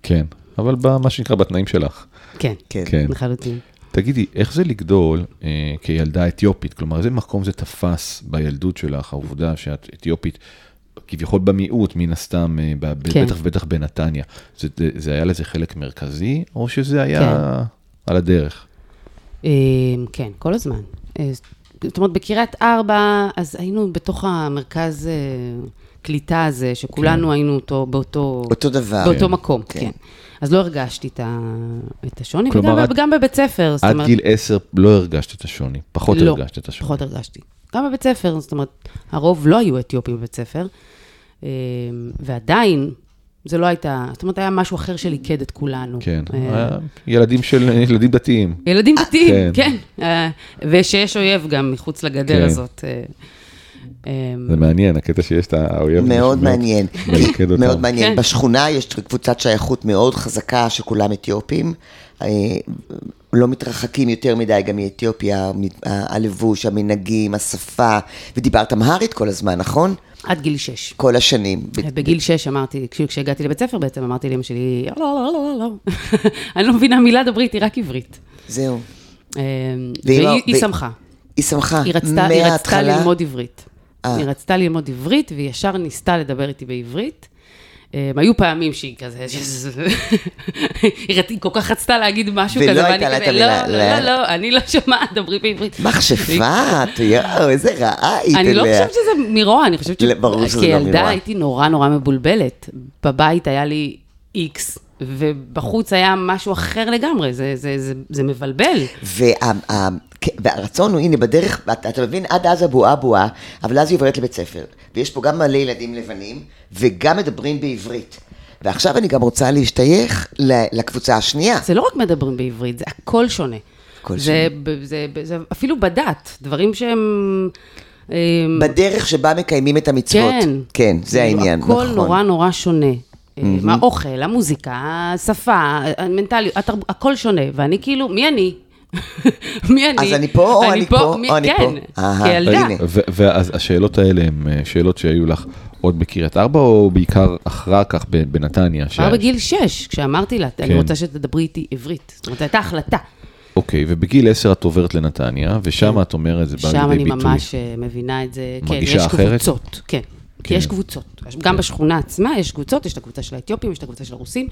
A: כן, אבל במה שנקרא, בתנאים שלך.
C: כן,
B: כן.
A: כן.
C: לחלוטין.
A: תגידי, איך זה לגדול אה, כילדה אתיופית? כלומר, איזה מקום זה תפס בילדות שלך, העובדה שאת אתיופית, כביכול במיעוט, מן הסתם, אה, ב- ב-
C: כן.
A: בטח ובטח בנתניה. זה, זה, זה היה לזה חלק מרכזי, או שזה היה
C: כן.
A: על הדרך?
C: אמ, כן, כל הזמן. אה, זאת אומרת, בקריית ארבע, אז היינו בתוך המרכז אה, קליטה הזה, שכולנו היינו אותו, באותו...
B: אותו דבר.
C: באותו מקום,
B: כן.
C: כן. אז לא הרגשתי את ה- את השוני,
A: כלומר,
C: וגם
A: את-
C: גם בבית ספר, זאת
A: עד
C: אומרת...
A: גיל 10 לא הרגשת את השוני, פחות
C: לא,
A: הרגשת את השוני.
C: פחות הרגשתי. גם בבית ספר, זאת אומרת, הרוב לא היו אתיופים בבית ספר, אה, ועדיין, זה לא הייתה, זאת אומרת, היה משהו אחר שליכד את כולנו.
A: כן,
C: אה,
A: אה, ילדים של ילדים דתיים.
C: ילדים דתיים,
A: כן.
C: כן. אה, ושיש אויב גם מחוץ לגדר
A: כן.
C: הזאת. אה, אה,
A: זה מעניין, הקטע שיש את האויב.
B: מאוד
A: שמאוד
B: מעניין,
A: מלכד
B: כי-
A: אותם.
B: מאוד מעניין.
C: כן.
B: בשכונה יש קבוצת שייכות מאוד חזקה שכולם אתיופים. אה, לא מתרחקים יותר מדי גם מאתיופיה, מ- ה- הלבוש, המנהגים, השפה, ודיברת אמהרית כל הזמן, נכון?
C: עד גיל שש.
B: כל השנים. ב-
C: בגיל שש אמרתי, כש- כשהגעתי לבית ספר בעצם, אמרתי לאמא שלי, לא, לא, לא, לא, לא. (laughs) אני לא מבינה מילה דברית, היא רק עברית.
B: זהו.
C: אה,
B: ואמא-
C: והיא היא
B: ו-
C: שמחה.
B: היא שמחה,
C: היא רצתה, היא רצתה
B: לא- אה, מההתחלה.
C: ללמוד עברית.
B: אה.
C: היא רצתה ללמוד עברית, והיא ישר ניסתה לדבר איתי בעברית. הם, היו פעמים שהיא כזה, (laughs) היא רצ- היא כל כך רצתה להגיד משהו
B: ולא
C: כזה, ואני
B: הייתה לה
C: כזה,
B: את המילה,
C: לא,
B: לא.
C: לא, לא, אני לא שומעת, דברי בעברית.
B: מכשפה, את, יואו, איזה רעה היית
C: אני לא
B: אליה.
C: חושבת שזה מרוע, אני חושבת
B: לא, ברור שזה לא
C: כילדה
B: מרוע.
C: הייתי נורא נורא מבולבלת. בבית היה לי איקס, ובחוץ היה משהו אחר לגמרי, זה- זה- זה- זה מבלבל.
B: וה- ה- כ- והרצון הוא, הנה, בדרך, אתה, אתה מבין, עד אז הבועה בועה, אבל אז היא עוברת לבית ספר, ויש פה גם מלא ילדים לבנים, וגם מדברים בעברית. ועכשיו אני גם רוצה להשתייך ל- לקבוצה השנייה.
C: זה לא רק מדברים בעברית, זה הכל שונה.
B: הכל
C: זה, שונה. זה, זה, זה אפילו בדת, דברים שהם... אמ,
B: בדרך שבה מקיימים את המצוות.
C: כן.
B: כן, זה
C: כאילו,
B: העניין,
C: הכל
B: נכון.
C: נורא נורא שונה. אמ, האוכל, המוזיקה, השפה, המנטליות, התרב... הכל שונה. ואני כאילו, מי אני? (laughs) מי אני?
B: אז אני פה, או אני פה,
C: מי-
B: או אני
C: כן,
B: פה. אהה,
C: כילדה.
B: הנה.
A: ו- ואז השאלות האלה הן אה, שאלות שהיו לך עוד בקריית ארבע, או בעיקר אחר כך ב- בנתניה? ש-
C: כבר בגיל שש, כשאמרתי לה, אני
A: כן.
C: רוצה שתדברי איתי עברית. זאת אומרת, זו הייתה החלטה.
A: אוקיי, ובגיל 10 את עוברת לנתניה, ושם את אומרת, זה בא לידי
C: כן. שם
A: ביטוי.
C: אני ממש אה, מבינה את זה. כן,
A: מרגישה
C: יש
A: אחרת?
C: קבוצות. כן.
A: כן.
C: כן. יש קבוצות. גם בשכונה עצמה יש קבוצות, יש את הקבוצה של האתיופים, יש את הקבוצה של הרוסים,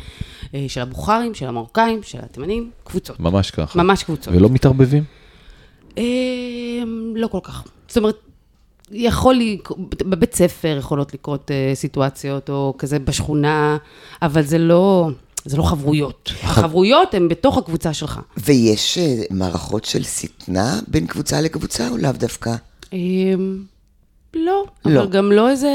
C: אה, של הבוכרים, של המרוקאים, של התימנים, קבוצות.
A: ממש ככה.
C: ממש קבוצות.
A: ולא מתערבבים?
C: אה, לא כל כך. זאת אומרת, יכול לקרות, בבית ספר יכולות לקרות אה, סיטואציות, או כזה בשכונה, אבל זה לא, זה לא חברויות. החברויות הן בתוך הקבוצה שלך.
B: ויש אה, מערכות של שטנה בין קבוצה לקבוצה, או לאו דווקא?
C: אה, לא,
B: לא.
C: אבל גם לא איזה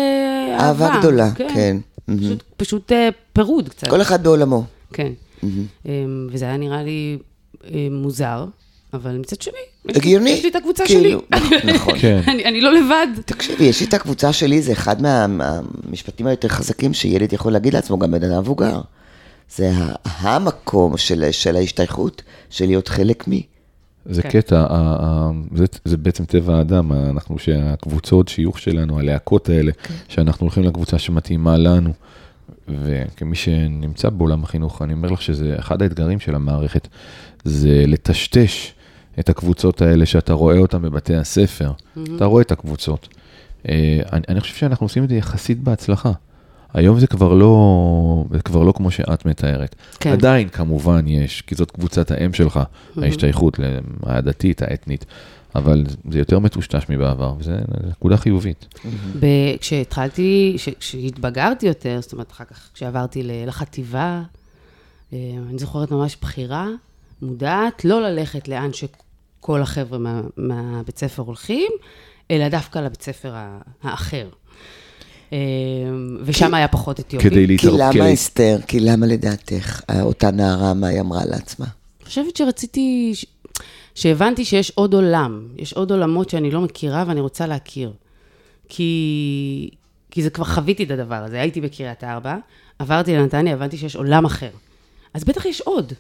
C: אהבה.
B: אהבה גדולה, כן.
C: פשוט, פשוט אה, פירוד קצת.
B: כל אחד בעולמו.
C: כן. אמ, וזה היה נראה לי אמ, מוזר, אה, אבל מצד שני, יש לי-
B: הגיוני.
C: יש לי את הקבוצה
B: כאילו,
C: שלי. (laughs)
B: נכון.
A: (laughs) כן.
C: אני- אני לא לבד.
B: תקשיבי, יש לי את הקבוצה שלי, זה אחד מהמשפטים היותר חזקים שילד יכול להגיד לעצמו, גם בן אדם מבוגר. זה ה- המקום של, של ההשתייכות, של להיות חלק מי.
A: זה
C: כן.
A: קטע, ה- ה- זה, זה בעצם טבע האדם, אנחנו שהקבוצות שיוך שלנו, הלהקות האלה,
C: כן.
A: שאנחנו הולכים לקבוצה שמתאימה לנו. וכמי שנמצא בעולם החינוך, אני אומר לך שזה אחד האתגרים של המערכת, זה לטשטש את הקבוצות האלה שאתה רואה אותן בבתי הספר. אתה רואה את הקבוצות. אה, אני, אני חושב שאנחנו עושים את זה יחסית בהצלחה. היום זה כבר לא, זה כבר לא כמו שאת מתארת.
C: כן.
A: עדיין כמובן יש, כי זאת קבוצת האם שלך, ההשתייכות ל- הדתית, האתנית, אבל זה יותר מטושטש מבעבר, וזה זה נקודה חיובית.
C: ב- כשהתחלתי, כש- כשהתבגרתי יותר, זאת אומרת, אחר כך כשעברתי ל- לחטיבה, אה, אני זוכרת ממש בחירה מודעת, לא ללכת לאן שכל החבר'ה מה, מהבית ספר הולכים, אלא דווקא לבית ספר ה- האחר. אה, ושם היה פחות אתיופים.
A: כדי
B: כי
A: להתערב,
B: למה אסתר? כי למה לדעתך אה, אותה נערה, מה היא אמרה לעצמה?
C: אני חושבת שרציתי, ש- שהבנתי שיש עוד עולם, יש עוד עולמות שאני לא מכירה ואני רוצה להכיר. כי, כי זה כבר חוויתי את הדבר הזה, הייתי בקריית ארבע, עברתי לנתניה, הבנתי שיש עולם אחר. אז בטח יש עוד.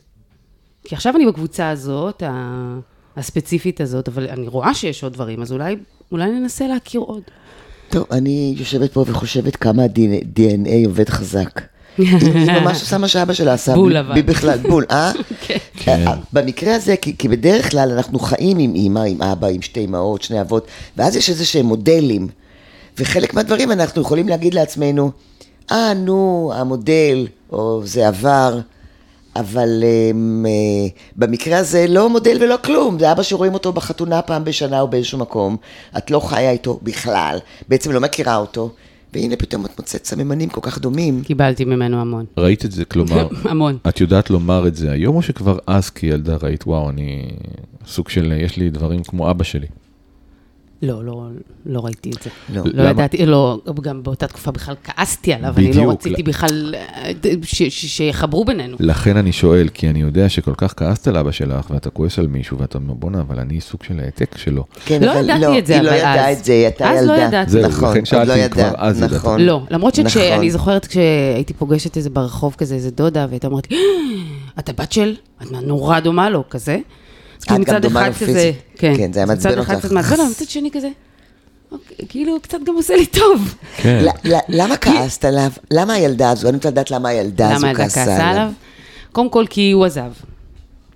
C: כי עכשיו אני בקבוצה הזאת, ה- הספציפית הזאת, אבל אני רואה שיש עוד דברים, אז אולי, אולי ננסה להכיר עוד.
B: טוב, אני יושבת פה וחושבת כמה ה-DNA עובד
C: (laughs)
B: חזק. היא היא ממש עושה מה שאבא שלה עשה.
C: בול
B: בלי-
C: אבל.
B: בלי בכלל, בול, אה?
C: כן.
B: אה, אה, במקרה הזה, כי כי בדרך כלל אנחנו חיים עם אימא, עם אבא, עם שתי אמהות, שני אבות, ואז יש איזה שהם מודלים. וחלק מהדברים אנחנו יכולים להגיד לעצמנו, אה, נו, המודל, או זה עבר. אבל um, uh, במקרה הזה לא מודל ולא כלום, זה אבא שרואים אותו בחתונה פעם בשנה או באיזשהו מקום, את לא חיה איתו בכלל, בעצם לא מכירה אותו, והנה פתאום את מוצאת סממנים כל כך דומים.
C: קיבלתי ממנו המון.
A: ראית את זה,
C: (coughs)
A: כלומר,
C: (laughs) המון.
A: את יודעת לומר את זה היום, או שכבר אז כילדה ראית, וואו, אני סוג של, יש לי דברים כמו אבא שלי.
C: לא, לא, לא ראיתי את זה.
B: לא.
C: לא
A: למה?
C: ידעתי, לא, גם באותה תקופה בכלל כעסתי עליו, אני לא
A: בדיוק,
C: רציתי
A: לא.
C: בכלל אה, ש- ש- שיחברו בינינו.
A: לכן אני שואל, כי אני יודע שכל כך כעסת על אבא שלך, ואתה כועס על מישהו, ואתה אומר, בואנה, אבל אני סוג של העתק שלו.
B: כן,
C: לא
B: אבל
C: ידעתי
B: לא,
C: את זה,
B: היא לא
C: אבל
B: ידעה
C: אז.
B: את זה, היא הייתה ילדה.
C: אז לא ידעתי.
A: זהו,
B: נכון,
A: לכן
B: עוד לא
A: שאלתי אם כבר
B: ידעה,
A: אז ידעת.
B: נכון.
C: לא, למרות
B: נכון.
C: שאני זוכרת כשהייתי פוגשת איזה ברחוב כזה, איזה דודה, והייתה אומרת, "אה, את הבת של? את נורא דומה לו, כזה. אז כאילו
B: גם
C: מצד
B: דומה
C: אחד
B: לו
C: כזה-
B: פיזית. כן, זה היה
C: מצד
B: מעצבן
C: אחד
B: אותך.
C: קצת מעצבן, אבל מצד שני כזה, אוקיי, כאילו, קצת גם עושה לי טוב.
A: כן.
B: ל- ל- למה כעסת עליו? למה הילדה הזו? אני רוצה לדעת למה הילדה הזו
C: למה הילדה
B: כעסה עליו.
C: קודם כל, כי הוא עזב.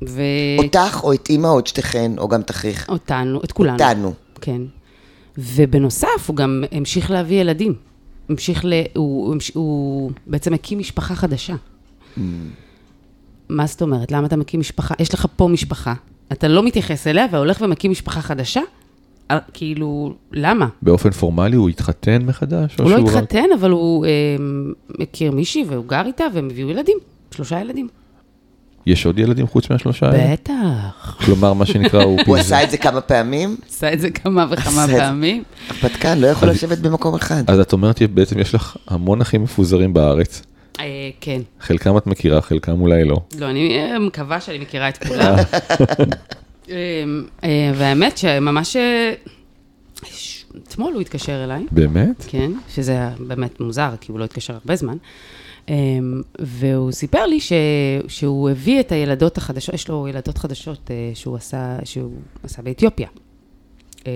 C: ו-
B: אותך או את אימא או את שתיכן, או גם את אחיך.
C: אה, אותנו, את כולנו.
B: אותנו.
C: כן. ובנוסף, הוא גם המשיך להביא ילדים. המשיך ל... הוא, הוא, המש- הוא בעצם הקים משפחה חדשה. מה זאת אומרת? למה אתה מקים משפחה? יש לך פה משפחה, אתה לא מתייחס אליה, והולך ומקים משפחה חדשה? אה, כאילו, למה?
A: באופן פורמלי הוא התחתן מחדש? או
C: הוא לא
A: שהוא רק-
C: התחתן, אבל הוא אה, מכיר מישהי והוא גר איתה, והם הביאו ילדים. שלושה ילדים.
A: יש עוד ילדים חוץ מהשלושה
B: אה.
A: האלה?
C: בטח.
A: כלומר, מה שנקרא, הוא
B: הוא
A: פיזר.
B: עשה את זה כמה פעמים?
C: עשה את זה כמה וכמה
B: עשה את זה.
C: פעמים.
B: הרפתקן לא יכול לשבת במקום אחד.
A: אז את אומרת, בעצם יש לך המון אחים מפוזרים בארץ.
C: אה, כן.
A: חלקם את מכירה, חלקם אולי לא.
C: לא, אני אה, מקווה שאני מכירה את כולם. (laughs) אמ, אה, והאמת שממש... אה, ש- אתמול הוא התקשר אליי,
A: באמת?
C: כן, שזה היה באמת מוזר, כי הוא לא התקשר הרבה זמן. אמ, והוא סיפר לי ש... שהוא הביא את הילדות החדשות, יש לו ילדות חדשות אה, שהוא עשה, שהוא עשה באתיופיה. אמ,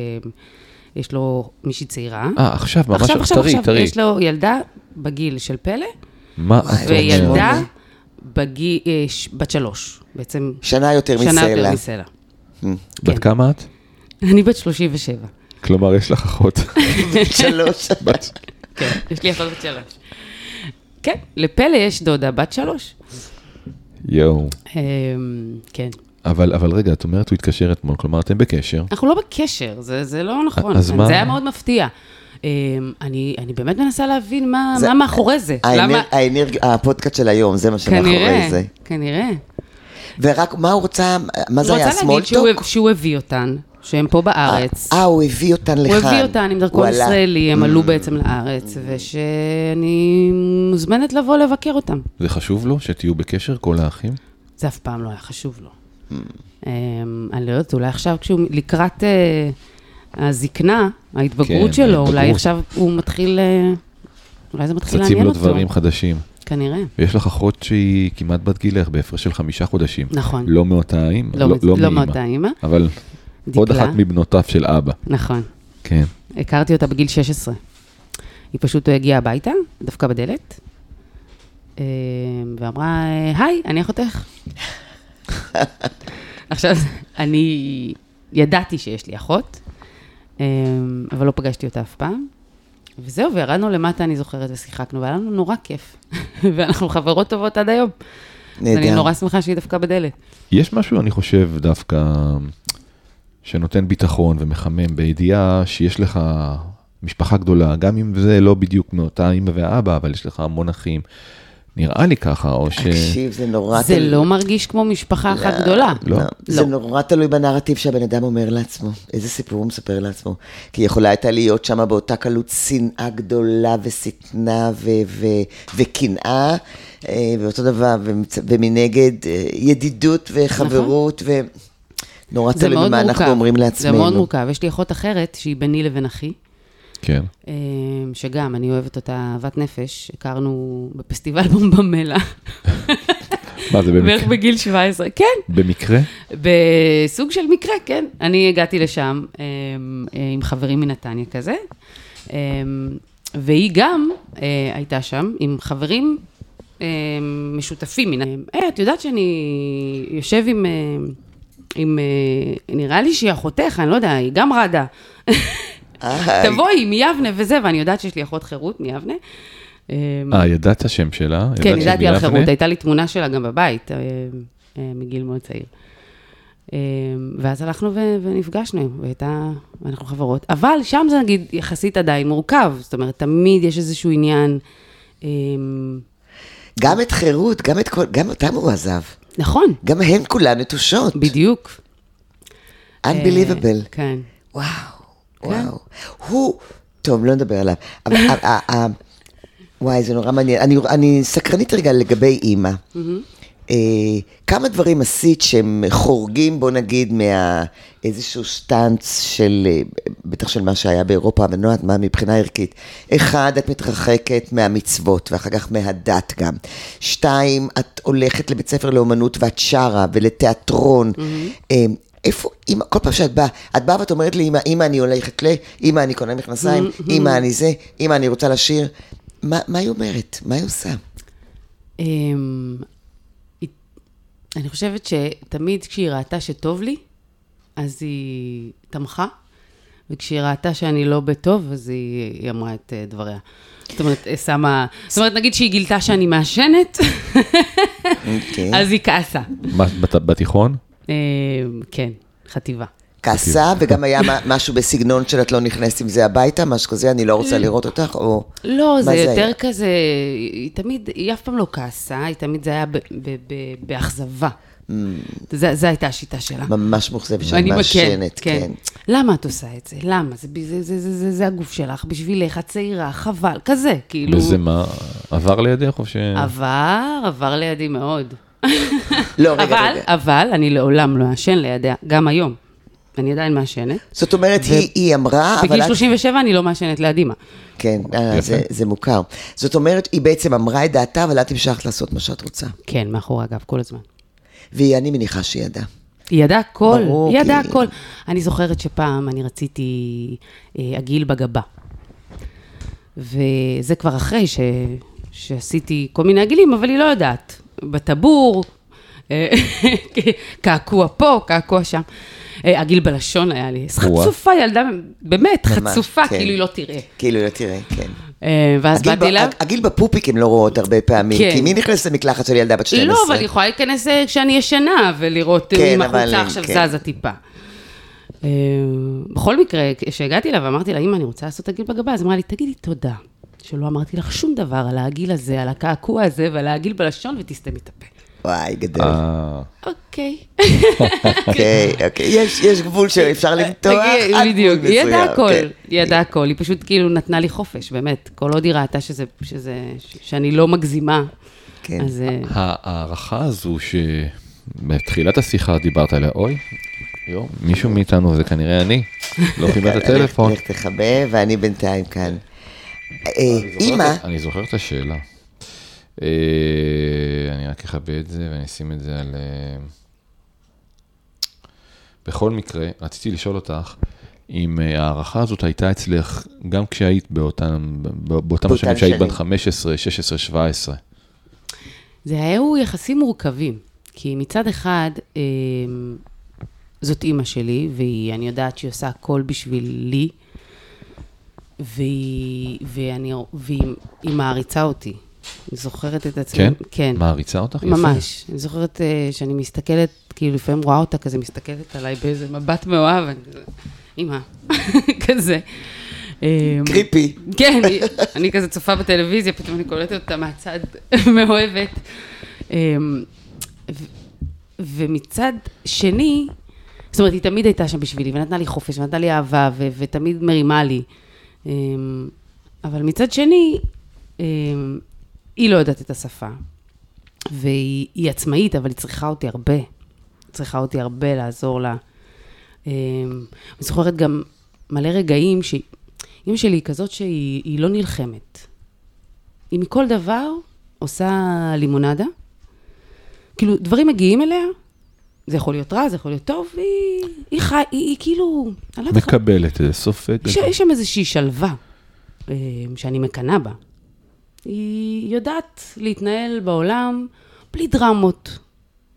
C: יש לו מישהי צעירה.
A: אה, עכשיו, ממש,
C: עכשיו, עכשיו,
A: טרי,
C: עכשיו,
A: טרי.
C: יש לו ילדה בגיל של פלא,
A: מה את אומרת?
C: וילדה בגיל, אה, ש- בת שלוש, בעצם
B: שנה יותר מסלע.
C: שנה יותר מסלע.
A: בת
C: כן.
A: כמה את?
C: אני בת 37.
A: כלומר, יש לך
C: (laughs)
A: אחות.
B: (laughs) שלוש.
A: בת-
C: כן, (laughs) יש לי אחות בת שלוש. כן, לפלא יש דודה בת שלוש.
A: יואו.
C: אמ, כן.
A: אבל, אבל רגע, את אומרת הוא התקשר אתמול, כלומר, אתם בקשר.
C: אנחנו לא בקשר, זה, זה לא נכון.
A: אז מה-
C: זה היה מאוד מפתיע. אמ, אני, אני באמת מנסה להבין מה,
B: זה-
C: מה מאחורי זה. למה...
B: האנרג- האנרג- הפודקאסט של היום, זה מה שמאחורי
C: כנראה,
B: זה.
C: כנראה.
B: ורק מה הוא רוצה, מה זה
C: הוא
B: היה,
C: רוצה להגיד
B: סמולטוק?
C: שהוא, שהוא הביא אותן, שהן פה בארץ.
B: אה, הוא הביא אותן לכאן.
C: הוא הביא אותן עם דרכון
B: וואלה.
C: ישראלי,
A: Mm.
C: הם עלו בעצם לארץ, ושאני מוזמנת לבוא לבקר אותם.
A: זה חשוב לו שתהיו בקשר, כל האחים?
C: זה אף פעם לא היה חשוב לו.
A: Mm.
C: אמ, אני לא יודעת, אולי עכשיו כשהוא לקראת אה, הזקנה, ההתבגרות
A: כן,
C: שלו, אולי
A: ההתבגרות.
C: עכשיו הוא מתחיל, אה, אולי זה מתחיל
A: צצים
C: לעניין
A: לו
C: אותו.
A: דברים חדשים.
C: כנראה.
A: ויש לך אחות שהיא כמעט בת גילך, בהפרש של חמישה חודשים.
C: נכון.
A: לא מאותה אימא,
C: לא,
A: לא, לא,
C: לא
A: מאימא,
C: מאותה אימא.
A: אבל
C: דקלה.
A: עוד אחת מבנותיו של אבא.
C: נכון.
A: כן.
C: הכרתי אותה בגיל 16. היא פשוט הגיעה הביתה, דפקה בדלת, אה, ואמרה, היי, אני אחותך. (laughs) עכשיו, אני ידעתי שיש לי אחות, אה, אבל לא פגשתי אותה אף פעם. וזהו, וירדנו למטה, אני זוכרת, ושיחקנו, והיה לנו נורא כיף. (laughs) ואנחנו חברות טובות עד היום. אז אני
B: נהדר.
C: נורא שמחה שהיא דפקה בדלת.
A: יש משהו, אני חושב, דווקא שנותן ביטחון ומחמם בידיעה שיש לך משפחה גדולה, גם אם זה לא בדיוק מאותה אימא והאבא, אבל יש לך המון אחים. נראה לי ככה, או ש...
B: תקשיב, זה נורא...
C: זה
B: תלוי-
C: לא מרגיש כמו משפחה אחת גדולה.
A: לא.
B: זה
C: לא.
B: נורא תלוי בנרטיב שהבן אדם אומר לעצמו, איזה סיפור הוא מספר לעצמו. כי יכולה הייתה להיות שם באותה קלות שנאה גדולה ושטנה ו- ו- וקנאה, אה, ואותו דבר, ומצ- ומנגד אה, ידידות וחברות, ונורא
C: נכון. זה
B: תלוי
C: מאוד
B: במה
C: מורכב.
B: אנחנו אומרים
C: זה
B: לעצמנו.
C: מאוד מורכב. יש לי אחות אחרת, שהיא ביני לבין אחי,
A: כן.
C: אה, שגם, אני אוהבת אותה אהבת נפש. הכרנו בפסטיבל בומבמלה,
A: מה, זה
C: בערך
A: במקרה?
C: בגיל 17. כן,
A: במקרה?
C: בסוג של מקרה, כן. אני הגעתי לשם אה, אה, עם חברים מנתניה כזה, אה, והיא גם אה, הייתה שם עם חברים אה, משותפים. מן- אה, את יודעת שאני יושב עם... אה, עם, אה, נראה לי שהיא אחותך, אני לא יודע, היא גם רדה.
B: אה,
C: תבואי מיבנה וזה, ואני יודעת שיש לי אחות חירות מיבנה. אה,
A: אה, ידעת את השם שלה?
C: כן,
A: ידעת שהיא
C: ידעתי על
A: מיבנה?
C: חירות, הייתה לי תמונה שלה גם בבית, אה, אה, מגיל מאוד צעיר. אה, ואז הלכנו ו- ונפגשנו, והייתה, אנחנו חברות. אבל שם זה נגיד יחסית עדיין מורכב, זאת אומרת, תמיד יש איזשהו עניין, אה,
B: גם את חירות, גם את כל... גם אותם הוא עזב.
C: נכון,
B: גם הן כולן נטושות.
C: בדיוק.
B: Unbelievable.
C: אה, כן.
B: וואו, וואו. הוא, טוב, לא נדבר עליו. אבל ה- ה- ה- וואי, זה נורא מעניין. אני- אני סקרנית רגע לגבי אימא. אה, כמה דברים עשית שהם חורגים, בוא נגיד, מאיזשהו שטאנץ של, אה, בטח של מה שהיה באירופה, אבל אני לא יודעת מה מבחינה ערכית. אחד, את מתרחקת מהמצוות, ואחר כך מהדת גם. שתיים, את הולכת לבית ספר לאומנות ואת שרה, ולתיאטרון. אה, איפה, אימא, כל פעם שאת באה, את באה ואת אומרת לי, אימא, אימא, אני הולכת ל... אימא, אני קונה מכנסיים, אימא, אני זה, אימא, אני רוצה לשיר. מה, מה היא אומרת? מה היא עושה?
C: אמ, היא- אני חושבת שתמיד כשהיא ראתה שטוב לי, אז היא תמכה, וכשהיא ראתה שאני לא בטוב, אז היא, היא אמרה את אה, דבריה. זאת אומרת, אה, שמה... זאת אומרת, נגיד שהיא גילתה שאני מעשנת,
B: אוקיי.
C: אז היא כעסה.
A: מה, בת- בתיכון?
C: אמ, כן, חטיבה.
B: כעסה,
A: כן.
B: וגם היה מה- משהו בסגנון של את לא נכנסת עם זה הביתה, משהו כזה, אני לא
C: Mm.
B: רוצה לראות אותך, או...
C: לא,
B: מה
C: זה יותר
B: היה?
C: כזה, היא תמיד, היא אף פעם לא כעסה, היא תמיד זה היה ב- ב- ב- באכזבה.
B: Mm.
C: זה- זו הייתה השיטה שלה.
B: ממש מאוכזבת שאני
C: אני בכן,
B: מעשנת, כן.
C: למה את עושה את זה? למה? זה, זה, זה, זה, זה, זה הגוף שלך, בשבילך, את צעירה, חבל, כזה, כאילו.
A: וזה מה, עבר לידך או ש...
C: עבר, עבר לידי מאוד.
B: לא, רגע,
C: אבל,
B: רגע.
C: אבל אני לעולם לא אעשן לידיה, גם היום. אני עדיין מעשנת.
B: זאת אומרת, היא- היא אמרה, אה, אבל
C: בגיל
B: את
C: 37 אני לא מעשנת ליד אימא.
B: כן, אה,
A: יפה.
B: זה- זה מוכר. זאת אומרת, היא בעצם אמרה את דעתה, אבל את המשכת לעשות מה שאת רוצה.
C: כן, מאחורי הגב, כל הזמן.
B: והיא, אני מניחה שהיא ידעה.
C: היא ידעה הכל,
B: ברור,
C: היא ידעה
B: כי-
C: הכל. אני זוכרת שפעם אני רציתי אה, עגיל בגבה. וזה כבר אחרי ש... שעשיתי כל מיני עגילים, אבל היא לא יודעת. בטבור, אה, (laughs) קעקוע פה, קעקוע שם. אה, עגיל בלשון היה לי.
A: וואו.
C: חצופה ילדה, באמת,
B: ממש,
C: חצופה,
B: כן.
C: כאילו היא לא תראה.
B: כאילו, לא תראה, כן.
C: אה, ואז
B: הגיל ב-
C: באתי אליו.
B: הג- הגיל בפופיק הן לא רואות הרבה פעמים,
C: כן.
B: כי מי נכנס למקלחת של ילדה בת 12?
C: לא, אבל היא יכולה להיכנס אה, כשאני ישנה ולראות אה,
B: כן,
C: אם
B: אבל,
C: החולצה עכשיו
B: כן.
C: זזה טיפה. אה, בכל מקרה, כשהגעתי אליו ואמרתי לה, אמא, אני רוצה לעשות עגיל בגבה, אז אמרה לי, תגידי תודה, שלא אמרתי לך שום דבר על העגיל הזה, על הקעקוע הזה ועל העגיל בלשון, ותסתמי את הפה.
B: וואי, גדול.
A: אה,
C: אוקיי.
B: אוקיי, אוקיי. יש- יש גבול שאפשר למתוח. עד
C: תגידי,
B: גבול
C: אה, בדיוק, היא ידעה
B: אה, מסוים,
C: הכל,
B: כן.
C: היא ידעה הכל, היא פשוט כאילו נתנה לי חופש, באמת, כל עוד היא ראתה שזה, שזה- ש- שאני לא מגזימה,
B: כן.
C: אז אה,
A: ההערכה הזו ש... בתחילת השיחה דיברת עליה, אוי, יום, מישהו מאיתנו, זה כנראה אני, לא קיבל את
B: (laughs) לך-
A: הטלפון.
B: לך תכבה, ואני בינתיים כאן. אה, אימא,
A: אני זוכר את השאלה. אה, אני רק אכבה את זה ואני אשים את זה על... אה, בכל מקרה, רציתי לשאול אותך אם אה, ההערכה הזאת הייתה אצלך גם כשהיית באותם, בא- באותם השנים שהיית
B: שנים.
A: בת 15, 16, 17.
C: זה היו יחסים מורכבים, כי מצד אחד, אה, זאת אימא שלי, ואני יודעת שהיא עושה הכל בשבילי, והיא, ואני, והיא היא מעריצה אותי. אני זוכרת את עצמי.
A: כן?
C: כן.
A: מעריצה אותך? יפה.
C: ממש. אני זוכרת אה, שאני מסתכלת, כאילו לפעמים רואה אותה כזה, מסתכלת עליי באיזה מבט מאוהב, אני כזה, אימא, (laughs) כזה. אה,
B: קריפי.
C: כן, אני- אני כזה צופה בטלוויזיה, פתאום אני קולטת אותה מהצד (laughs) מאוהבת. אמ, ו- ומצד שני, זאת אומרת, היא תמיד הייתה שם בשבילי, ונתנה לי חופש, ונתנה לי אהבה, ו- ותמיד מרימה לי. אמ, אבל מצד שני, אמ, היא לא יודעת את השפה, והיא היא עצמאית, אבל היא צריכה אותי הרבה. היא צריכה אותי הרבה לעזור לה. אמ, אני זוכרת גם מלא רגעים ש... אימא שלי היא כזאת שהיא היא לא נלחמת. היא מכל דבר עושה לימונדה. כאילו, דברים מגיעים אליה, זה יכול להיות רע, זה יכול להיות טוב, והיא היא חי, היא, היא כאילו... אני לא יודעת איך-
A: מקבלת איזה סופג.
C: יש- יש שם איזושהי שלווה אה, שאני מקנאה בה. היא יודעת להתנהל בעולם בלי דרמות,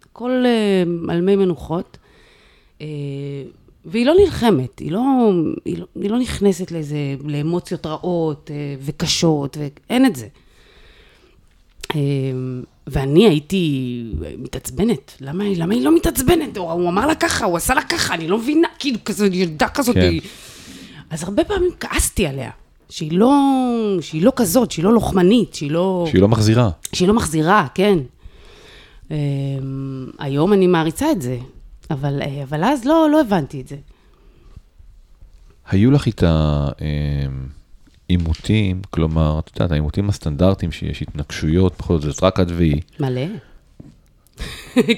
C: הכל אה, על מי מנוחות, אה, והיא לא נלחמת, היא לא, היא לא, היא לא נכנסת לאיזה, לאמוציות רעות אה, וקשות, ואין את זה. אה, ואני הייתי מתעצבנת, למה, היא- למה היא לא מתעצבנת? הוא, הוא אמר לה ככה, הוא עשה לה ככה, אני לא מבינה, כאילו, כזו ילדה כזאת,
A: כן.
C: היא... אז הרבה פעמים כעסתי עליה, שהיא לא, שהיא לא כזאת, שהיא לא לוחמנית, שהיא לא...
A: שהיא לא מחזירה.
C: שהיא לא מחזירה, כן. אמ, היום אני מעריצה את זה, אבל, אה, אבל אז לא, לא הבנתי את זה.
A: היו לך איתה אמ, עימותים, כלומר, את יודעת, העימותים הסטנדרטיים שיש, התנגשויות, בכל זאת, רק את
C: (laughs)
A: והיא.
C: מלא.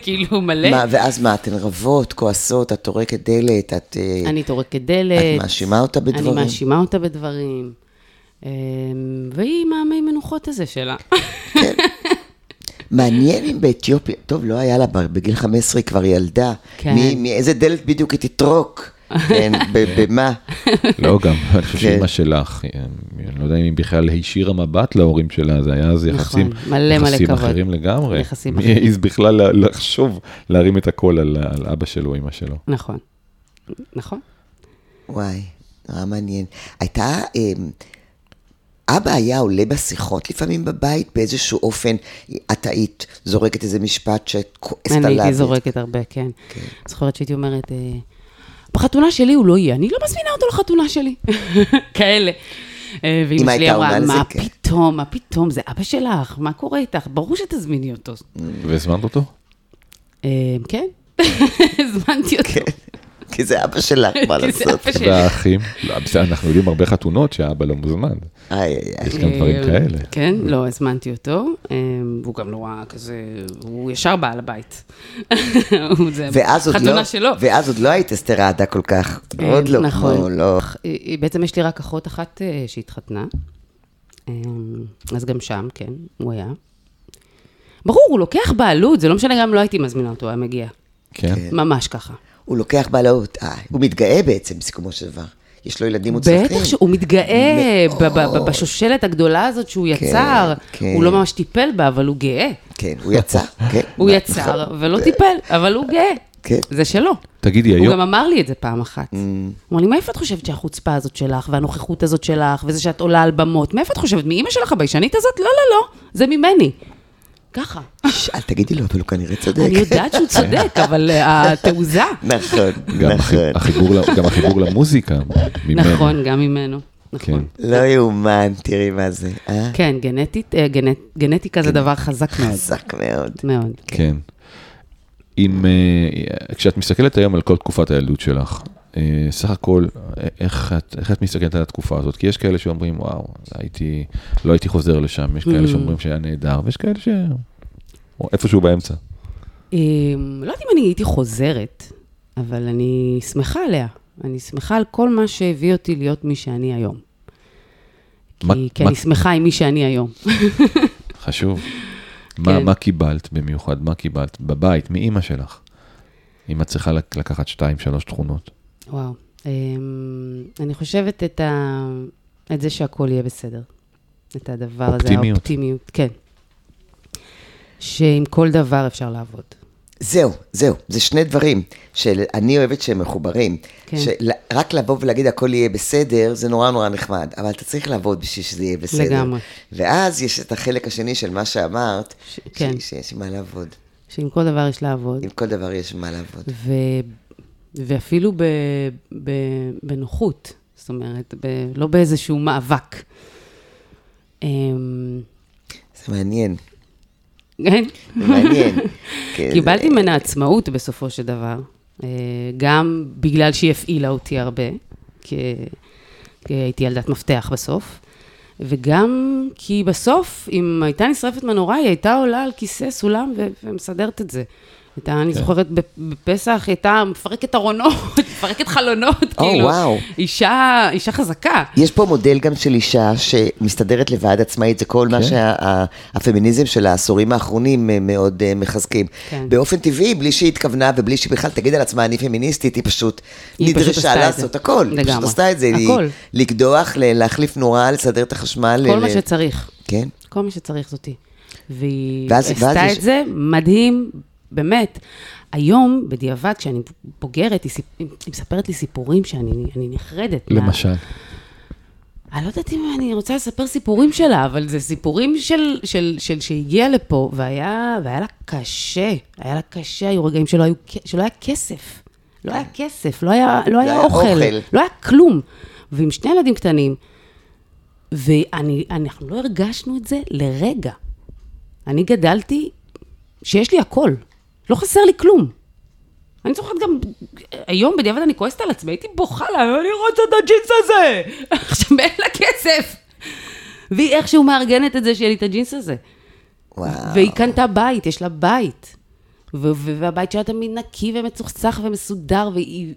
C: כאילו מלא.
B: מה, ואז מה, אתן רבות, כועסות, את טורקת דלת, את... אה,
C: אני טורקת דלת.
B: את מאשימה אותה בדברים?
C: אני מאשימה אותה בדברים. אמ, והיא עם המי מנוחות הזה שלה. (laughs)
B: מעניין אם באתיופיה, טוב, לא היה לה, ב- בגיל 15 היא כבר ילדה.
C: כן.
B: מי- מאיזה דלת בדיוק היא
C: (laughs)
B: תטרוק? כן, ב- במה?
A: לא, גם, אני חושב
B: כן.
A: שאימא שלך, אמ, אני לא יודע אם היא בכלל הישירה מבט להורים שלה, זה היה אז יחסים,
C: נכון, מלא מלא
A: יחסים
C: כבוד.
A: אחרים לגמרי.
C: יחסים
A: מי
C: אחרים.
A: העז בכלל לה- לחשוב להרים את הקול על על אבא שלו, אימא שלו.
C: נכון. נכון.
B: וואי, נורא מעניין. הייתה, אמ, אבא היה עולה בשיחות לפעמים בבית באיזשהו אופן, את היית זורקת איזה משפט שאת כועסת עליו.
C: אני הייתי זורקת הרבה, כן. זוכרת שהייתי אומרת, אה, בחתונה שלי הוא לא יהיה, אני לא מזמינה אותו לחתונה שלי. (laughs) כאלה. אה,
B: אמא
C: ואימא שלי
B: הייתה עונה
C: אמרה,
B: לזה,
C: מה
B: כן."
C: פתאום, מה פתאום, זה אבא שלך, מה קורה איתך? ברור שתזמיני אותו.
A: והזמנת אותו?
C: אה, כן, (laughs) הזמנתי
B: כן.
C: אותו.
B: כי זה אבא
C: (laughs)
B: שלך, מה
C: כי זה
B: לעשות?
C: אבא שלי.
A: והאחים? לא, בסדר, אנחנו יודעים הרבה חתונות שהאבא לא מוזמן.
B: איי, איי, איי.
A: יש גם דברים
C: אה,
A: כאלה.
C: כן, לא, הזמנתי אותו. אה, הוא גם לא היה כזה, הוא ישר בעל הבית. (laughs) הוא זה
B: ואז עוד לא,
C: חתונה שלו.
B: ואז עוד לא היית אסתר אהדה כל כך,
C: אה,
B: עוד לא,
C: נכון.
B: לא, לא.
C: אה, אה, בעצם יש לי רק אחות אחת אה, שהתחתנה, אה, אז גם שם, כן, הוא היה. ברור, הוא לוקח בעלות, זה לא משנה, גם לא הייתי מזמינה אותו, הוא היה מגיע.
A: כן.
C: ממש ככה.
B: הוא לוקח בעלות, אה, הוא מתגאה בעצם בסיכומו של דבר. יש לו ילדים מוצלחים.
C: בטח שהוא מתגאה ב- ב- ב- בשושלת הגדולה הזאת שהוא
B: כן,
C: יצר.
B: כן.
C: הוא לא ממש טיפל בה, אבל הוא גאה.
B: כן, הוא
C: (laughs)
B: יצא, כן. נכון.
C: הוא יצר ולא טיפל, אבל הוא גאה.
B: כן.
C: זה שלו.
A: תגידי,
C: הוא
A: היום... Mm.
C: גם אמר לי את זה פעם אחת. הוא אמר לי, מאיפה את חושבת שהחוצפה הזאת שלך, והנוכחות הזאת שלך, וזה שאת עולה על במות, מאיפה את חושבת? מאימא שלך הביישנית הזאת? לא, לא, לא, זה ממני. ככה.
B: ש- אל תגידי לו, אבל הוא כנראה צודק.
C: אני יודעת שהוא
A: (laughs)
C: צודק, אבל אה, התעוזה.
B: (laughs) נכון,
A: גם
B: נכון.
A: החיב- החיבור ל- גם החיבור למוזיקה ממנו.
C: נכון, גם ממנו. נכון.
B: לא יאומן, תראי מה זה, אה?
C: כן, גנטית, אה, גנט- גנטיקה כן, זה דבר
A: (laughs)
C: חזק מאוד.
B: חזק מאוד.
C: מאוד.
A: כן. אם, אה, כשאת מסתכלת היום על כל תקופת הילדות שלך, אה, סך הכל, אה, איך את, איך את מסתכלת על התקופה הזאת? כי יש כאלה שאומרים, וואו, הייתי, לא
C: Mm.
A: הייתי חוזר לשם, יש כאלה שאומרים שהיה נהדר, ויש כאלה ש... או איפשהו באמצע.
C: אמ, לא יודעת אם אני הייתי חוזרת, אבל אני שמחה עליה. אני שמחה על כל מה שהביא אותי להיות מי שאני היום.
A: מה-
C: כי, כן כי
A: מה-
C: אני שמחה עם מי שאני היום. (laughs)
A: חשוב. מה,
C: כן.
A: מה קיבלת במיוחד? מה קיבלת בבית, מאימא שלך? אם את צריכה לק- לקחת שתיים, שלוש תכונות.
C: וואו. אמ, אני חושבת את, ה... את זה שהכול יהיה בסדר. את הדבר הזה,
A: אופטימיות.
C: האופטימיות, כן. שעם כל דבר אפשר לעבוד.
B: זהו, זהו, זה שני דברים שאני אוהבת שהם מחוברים.
C: כן.
B: כן. רק לבוא ולהגיד הכל יהיה בסדר, זה נורא נורא נחמד, אבל אתה צריך לעבוד בשביל שזה יהיה בסדר.
C: לגמרי.
B: ואז יש את החלק השני של מה שאמרת,
C: ש-
B: ש-
C: כן.
B: ש- כן. שיש מה לעבוד.
C: שעם כל דבר יש לעבוד.
B: עם כל דבר יש מה לעבוד.
C: ו... ואפילו ב... ב... בנוחות, זאת אומרת, ב... לא באיזשהו מאבק. אמ,
B: זה
C: (laughs)
B: מעניין,
C: כן?
B: זה מעניין. כן,
C: קיבלתי
B: זה-
C: ממנה עצמאות בסופו של דבר, אה, גם בגלל שהיא הפעילה אותי הרבה, כי כי הייתי ילדת מפתח בסוף, וגם כי בסוף, אם הייתה נשרפת מנורה, היא הייתה עולה על כיסא סולם ו- ומסדרת את זה. הייתה,
B: כן.
C: אני זוכרת, בפ- בפסח היא הייתה מפרקת ארונות, (laughs) מפרקת חלונות,
B: או,
C: כאילו.
B: וואו.
C: אישה, אישה חזקה.
B: יש פה מודל גם של אישה שמסתדרת לבד עצמאית, זה כל מה
A: כן.
B: שהפמיניזם של העשורים האחרונים אה, מאוד אה, מחזקים.
C: כן.
B: באופן טבעי, בלי שהיא התכוונה ובלי שהיא בכלל תגיד על עצמה, אני פמיניסטית, היא פשוט
C: היא פשוט עשתה
B: נדרשה
C: את זה.
B: לעשות הכל. היא פשוט
C: לגמרי.
B: עשתה את זה, היא-
C: הכל.
B: לקדוח, ל- להחליף נורה, לסדר את החשמל.
C: כל
B: ל-
C: מה
B: ל-
C: שצריך.
B: כן.
C: כל מה שצריך זאתי. והיא
B: ואז-
C: עשתה
B: ואז
C: את
B: יש-
C: זה מדהים, באמת. היום, בדיעבד, כשאני בוגרת, היא, סיפ... היא מספרת לי סיפורים שאני אני נחרדת. מה-
A: למשל.
C: אני לא יודעת אם אני רוצה לספר סיפורים שלה, אבל זה סיפורים של, של, של שהגיעה לפה, והיה, והיה לה קשה. היה לה קשה, היו רגעים שלא, היו, כ- שלא היה כסף. לא היה כסף, לא היה, לא היה
B: היה
C: אוכל,
B: אוכל.
C: לא היה כלום. ועם שני ילדים קטנים, ואנחנו לא הרגשנו את זה לרגע. אני גדלתי שיש לי הכל, לא חסר לי כלום. אני זוכרת גם, היום בדיעבד אני כועסת על עצמי, הייתי בוכה לה, אני רוצה את הג'ינס הזה! עכשיו אין לה כסף! והיא איכשהו מארגנת את זה שיהיה לי את הג'ינס הזה.
B: וואו.
C: והיא קנתה בית, יש לה בית. ו- ו- והבית שלה תמיד נקי ומצוחצח ומסודר, והיא...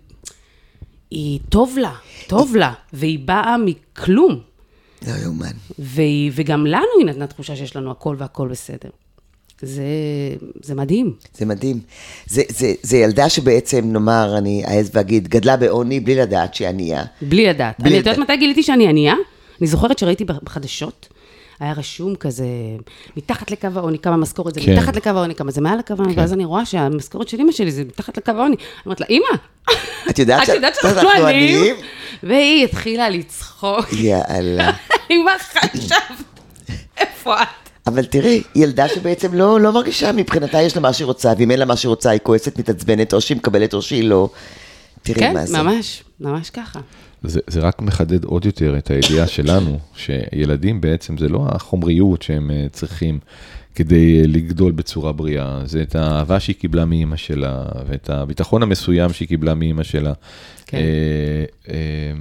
C: היא טוב לה, טוב לה, והיא באה מכלום.
B: לא יאומן.
C: והיא, וגם לנו היא נתנה תחושה שיש לנו הכל והכל בסדר. זה, זה מדהים.
B: זה מדהים. זה, זה, זה ילדה שבעצם, נאמר, אני אעז ואגיד, גדלה בעוני בלי לדעת שהיא ענייה.
C: בלי לדעת.
B: בלי
C: אני, את יודעת
B: לדעת.
C: מתי גיליתי שאני ענייה? אני זוכרת שראיתי בחדשות, היה רשום כזה, מתחת לקו העוני, כמה משכורת זה,
A: כן.
C: מתחת לקו העוני, כמה זה מעל לקו
B: כן.
C: העוני, ואז אני רואה שהמשכורת של אימא שלי זה מתחת לקו העוני. אני אומרת לה, אימא,
B: את יודעת
C: את
B: שאת-
C: יודעת
B: אנחנו
C: שאנחנו עניים?
B: עניים?
C: והיא
B: (laughs)
C: התחילה לצחוק.
B: יאללה.
C: אימא, חשבת, איפה את?
B: אבל תראי, היא ילדה שבעצם לא, לא מרגישה, מבחינתה יש לה מה שהיא רוצה, ואם אין לה מה שהיא רוצה, היא כועסת, מתעצבנת, או שהיא מקבלת או שהיא לא. תראי
C: כן,
B: מה זה.
C: ממש, ממש ככה.
A: זה, זה רק מחדד עוד יותר את הידיעה שלנו, שילדים בעצם זה לא החומריות שהם אה, צריכים כדי אה, לגדול בצורה בריאה, זה את האהבה שהיא קיבלה מאימא שלה, ואת הביטחון המסוים שהיא קיבלה מאימא שלה.
C: כן.
A: אה, אה,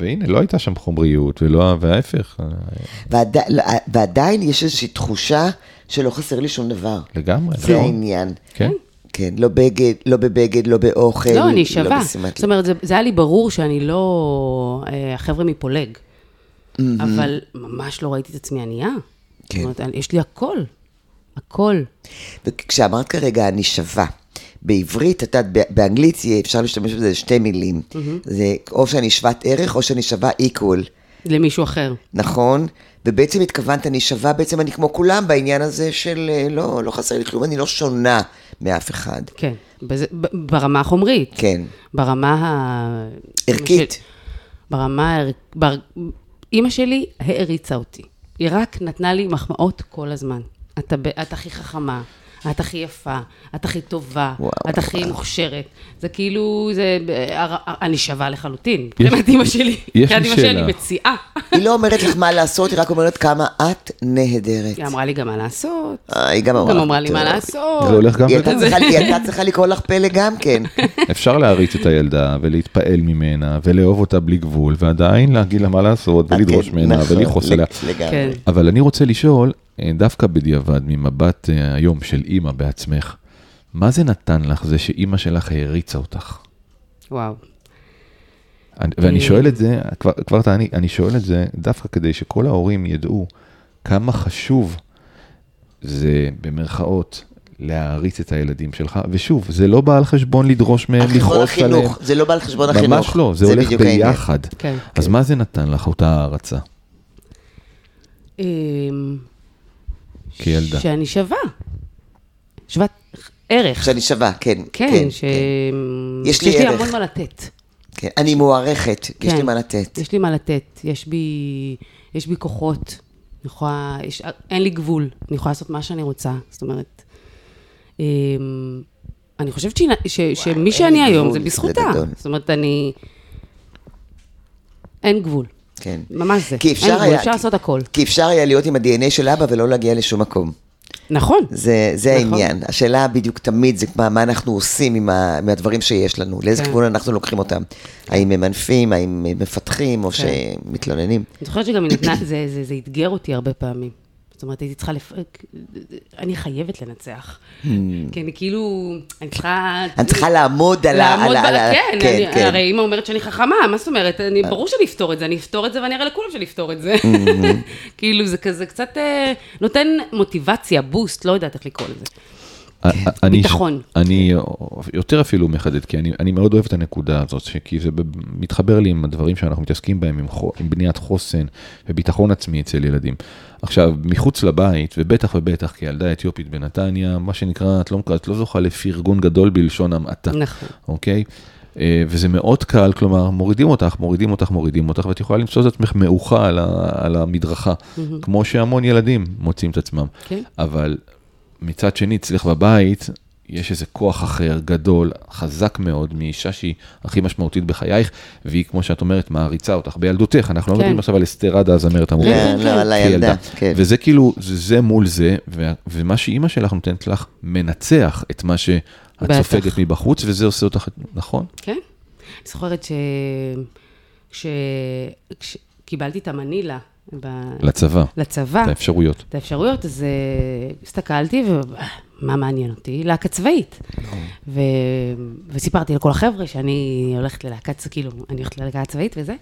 A: והנה, לא הייתה שם חומריות, ולא, וההפך, אה,
B: ועדי, לא, ועדיין יש איזושהי תחושה שלא חסר לי שום דבר.
A: לגמרי.
B: זה
A: נכון?
B: העניין.
A: כן.
B: כן, לא בגד, לא בבגד, לא באוכל.
C: לא, אני שווה.
B: בשימת
C: זאת
B: לב.
C: אומרת, זה- זה היה לי ברור שאני לא... אה, החבר'ה מפולג. אבל ממש לא ראיתי את עצמי ענייה.
B: כן.
C: זאת אומרת, יש לי הכל. הכל.
B: וכשאמרת כרגע, אני שווה. בעברית, את יודעת, ב- באנגלית יהיה- אפשר להשתמש בזה שתי מילים. זה או שאני שוות ערך, או שאני שווה equal.
C: למישהו אחר.
B: נכון? ובעצם התכוונת, אני שווה, בעצם אני כמו כולם בעניין הזה של אה, לא, לא חסר לי כלום, אני לא שונה מאף אחד.
C: כן. בזה- ב- ברמה החומרית.
B: כן.
C: ברמה ה...
B: ערכית.
C: של- (laughs) ברמה הערכית. בר... אימא שלי העריצה אותי. היא רק נתנה לי מחמאות כל הזמן. אתה, ב- את הכי חכמה, את הכי יפה, את הכי טובה,
B: וואו,
C: את הכי
B: וואו.
C: מוכשרת. זה כאילו, זה... אני שווה לחלוטין. מבחינת אימא שלי.
A: לי
C: מבחינת אימא שלי
A: שאלה.
C: מציעה.
B: היא לא אומרת לך מה לעשות, היא רק אומרת כמה את נהדרת.
C: היא אמרה לי גם מה לעשות.
B: אה, היא גם אמרה.
C: גם אמרה לי מה
B: "טוב".
C: לעשות.
A: זה הולך גם
B: היא הייתה
A: וגם.
B: צריכה- היא הייתה צריכה לקרוא לך פלא גם
A: (laughs)
B: כן.
A: אפשר להריץ את הילדה ולהתפעל ממנה ולאהוב אותה בלי גבול ועדיין להגיד לה מה לעשות ולדרוש
B: כן,
A: ממנה
B: נכון,
A: ולכעוס עליה.
B: לגמרי.
C: כן.
A: אבל אני רוצה לשאול, אה, דווקא בדיעבד, ממבט אה, היום של אימא בעצמך, מה זה נתן לך זה שאימא שלך העריצה אותך?
C: וואו.
A: אני- ואני
C: אה,
A: שואל את זה, כבר, כבר תעני, אני שואל את זה דווקא כדי שכל ההורים ידעו כמה חשוב זה, במרכאות, להעריץ את הילדים שלך. ושוב, זה לא בא על חשבון לדרוש מהם
B: על אה, חשבון
A: אה, לכעוס עליהם.
B: החינוך, זה לא בא על חשבון החינוך.
A: ממש לא, זה הולך
B: בדיוק העניין.
A: ביחד.
C: כן.
A: אז מה זה נתן לך, אותה הערצה,
C: אמ,
A: כילדה?
C: שאני שווה. שוות ערך.
B: שאני שווה, כן.
C: כן, ש...
B: יש לי
C: יש לי
B: ערך.
C: המון מה לתת.
B: כן. אני מוערכת, יש
C: כן.
B: לי מה לתת.
C: יש לי מה לתת, יש בי, יש בי כוחות, אני יכולה, יש, אין לי גבול, אני יכולה לעשות מה שאני רוצה, זאת אומרת. אמ, אני חושבת שהיא, ש, שמי שאני
B: לי
C: היום
B: גבול,
C: זה
B: זה
C: בזכותה.
B: גדול.
C: זאת אומרת, אני... אין גבול.
B: כן.
C: ממש זה.
B: כי
C: אין
B: אפשר
C: גבול,
B: היה...
C: אפשר לעשות הכל.
B: כי אפשר היה להיות עם ה-DNA של אבא ולא להגיע לשום מקום.
C: נכון.
B: זה, זה
C: נכון.
B: העניין. השאלה בדיוק תמיד זה מה, מה אנחנו עושים עם ה, מהדברים שיש לנו, לאיזה
C: כן.
B: כיוון אנחנו לוקחים אותם. האם ממנפים, האם מפתחים, או
C: כן.
B: שמתלוננים.
C: אני זוכרת שגם היא נתנה, זה, זה, זה אתגר אותי הרבה פעמים. זאת אומרת, הייתי צריכה לפ... אני חייבת לנצח. כי אני כאילו, אני צריכה...
B: Hmm. אני צריכה לעמוד על ה... על
C: לעמוד
B: ה- על ה-
C: ב... כן,
B: כן,
C: אני,
B: כן. אה.
C: הרי אימא אומרת שאני חכמה, מה זאת אומרת? אני, ברור שאני אפתור את זה, אני אפתור את זה ואני אראה לכולם שאני אפתור את זה.
B: Hmm.
C: (laughs) כאילו, זה כזה קצת אה, נותן מוטיבציה, בוסט, לא יודעת איך לקרוא לזה.
A: אני-
C: ביטחון.
A: אני יותר אפילו מחדד, כי אני, אני מאוד אוהב את הנקודה הזאת, ש- כי זה ב- מתחבר לי עם הדברים שאנחנו מתעסקים בהם, עם, חו, עם בניית חוסן וביטחון עצמי אצל ילדים. עכשיו, מחוץ לבית, ובטח ובטח כילדה אתיופית בנתניה, מה שנקרא, את לא, את לא זוכה לפרגון גדול בלשון המעטה.
C: נכון.
A: אוקיי? אה, וזה מאוד קל, כלומר, מורידים אותך, מורידים אותך, מורידים אותך, ואת יכולה למצוא את עצמך מעוכה על, ה- על המדרכה, כמו שהמון ילדים מוצאים את עצמם.
C: כן.
A: אבל מצד שני, אצלך בבית, יש איזה כוח אחר, גדול, חזק מאוד, מאישה שהיא הכי משמעותית בחייך, והיא, כמו שאת אומרת, מעריצה אותך בילדותך. אנחנו לא
C: כן.
A: מדברים עכשיו על אסתרדה הזמרת
B: לא,
A: המורכבת.
B: לא, על הילדה. כן.
A: וזה כאילו, זה, זה מול זה, ו, ומה שאימא שלך נותנת לך, מנצח את מה שאת
C: בטח.
A: סופגת מבחוץ, וזה עושה אותך, נכון?
C: כן. אני זוכרת ש... כש... כשקיבלתי את המנילה ב...
A: לצבא,
C: לצבא,
A: את האפשרויות.
C: את האפשרויות, אז אה, הסתכלתי, ומה מעניין אותי? להקה צבאית. ו... וסיפרתי לכל החבר'ה שאני הולכת ללהקה, צ- כאילו, אני הולכת ללהקה הצבאית וזה,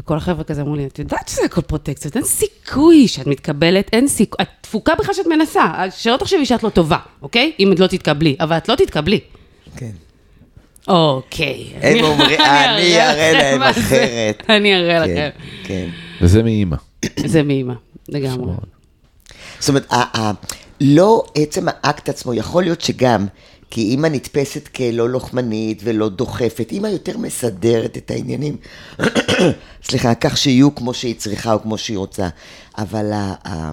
C: וכל החבר'ה כזה אמרו לי, את יודעת שזה הכל פרוטקציות, אין סיכוי שאת מתקבלת, אין סיכוי, את תפוקה בכלל שאת מנסה, אז שלא תחשבי שאת לא טובה, אוקיי? אם את לא תתקבלי, אבל את לא תתקבלי.
B: כן.
C: אוקיי.
B: הם
C: אני-
B: אומרים, "אני אראה
C: לכם
B: להם
C: (laughs) מה זה.
B: אחרת."
C: אני אראה לכם.
B: כן, כן.
A: וזה מאימא.
B: אה,
C: זה מאימא, לגמרי.
B: זאת אומרת, ה- ה- לא עצם האקט עצמו, יכול להיות שגם, כי אימא נתפסת כלא לוחמנית ולא דוחפת, אימא יותר מסדרת את העניינים, (coughs) סליחה, כך שיהיו כמו שהיא צריכה או כמו שהיא רוצה, אבל ה- ה-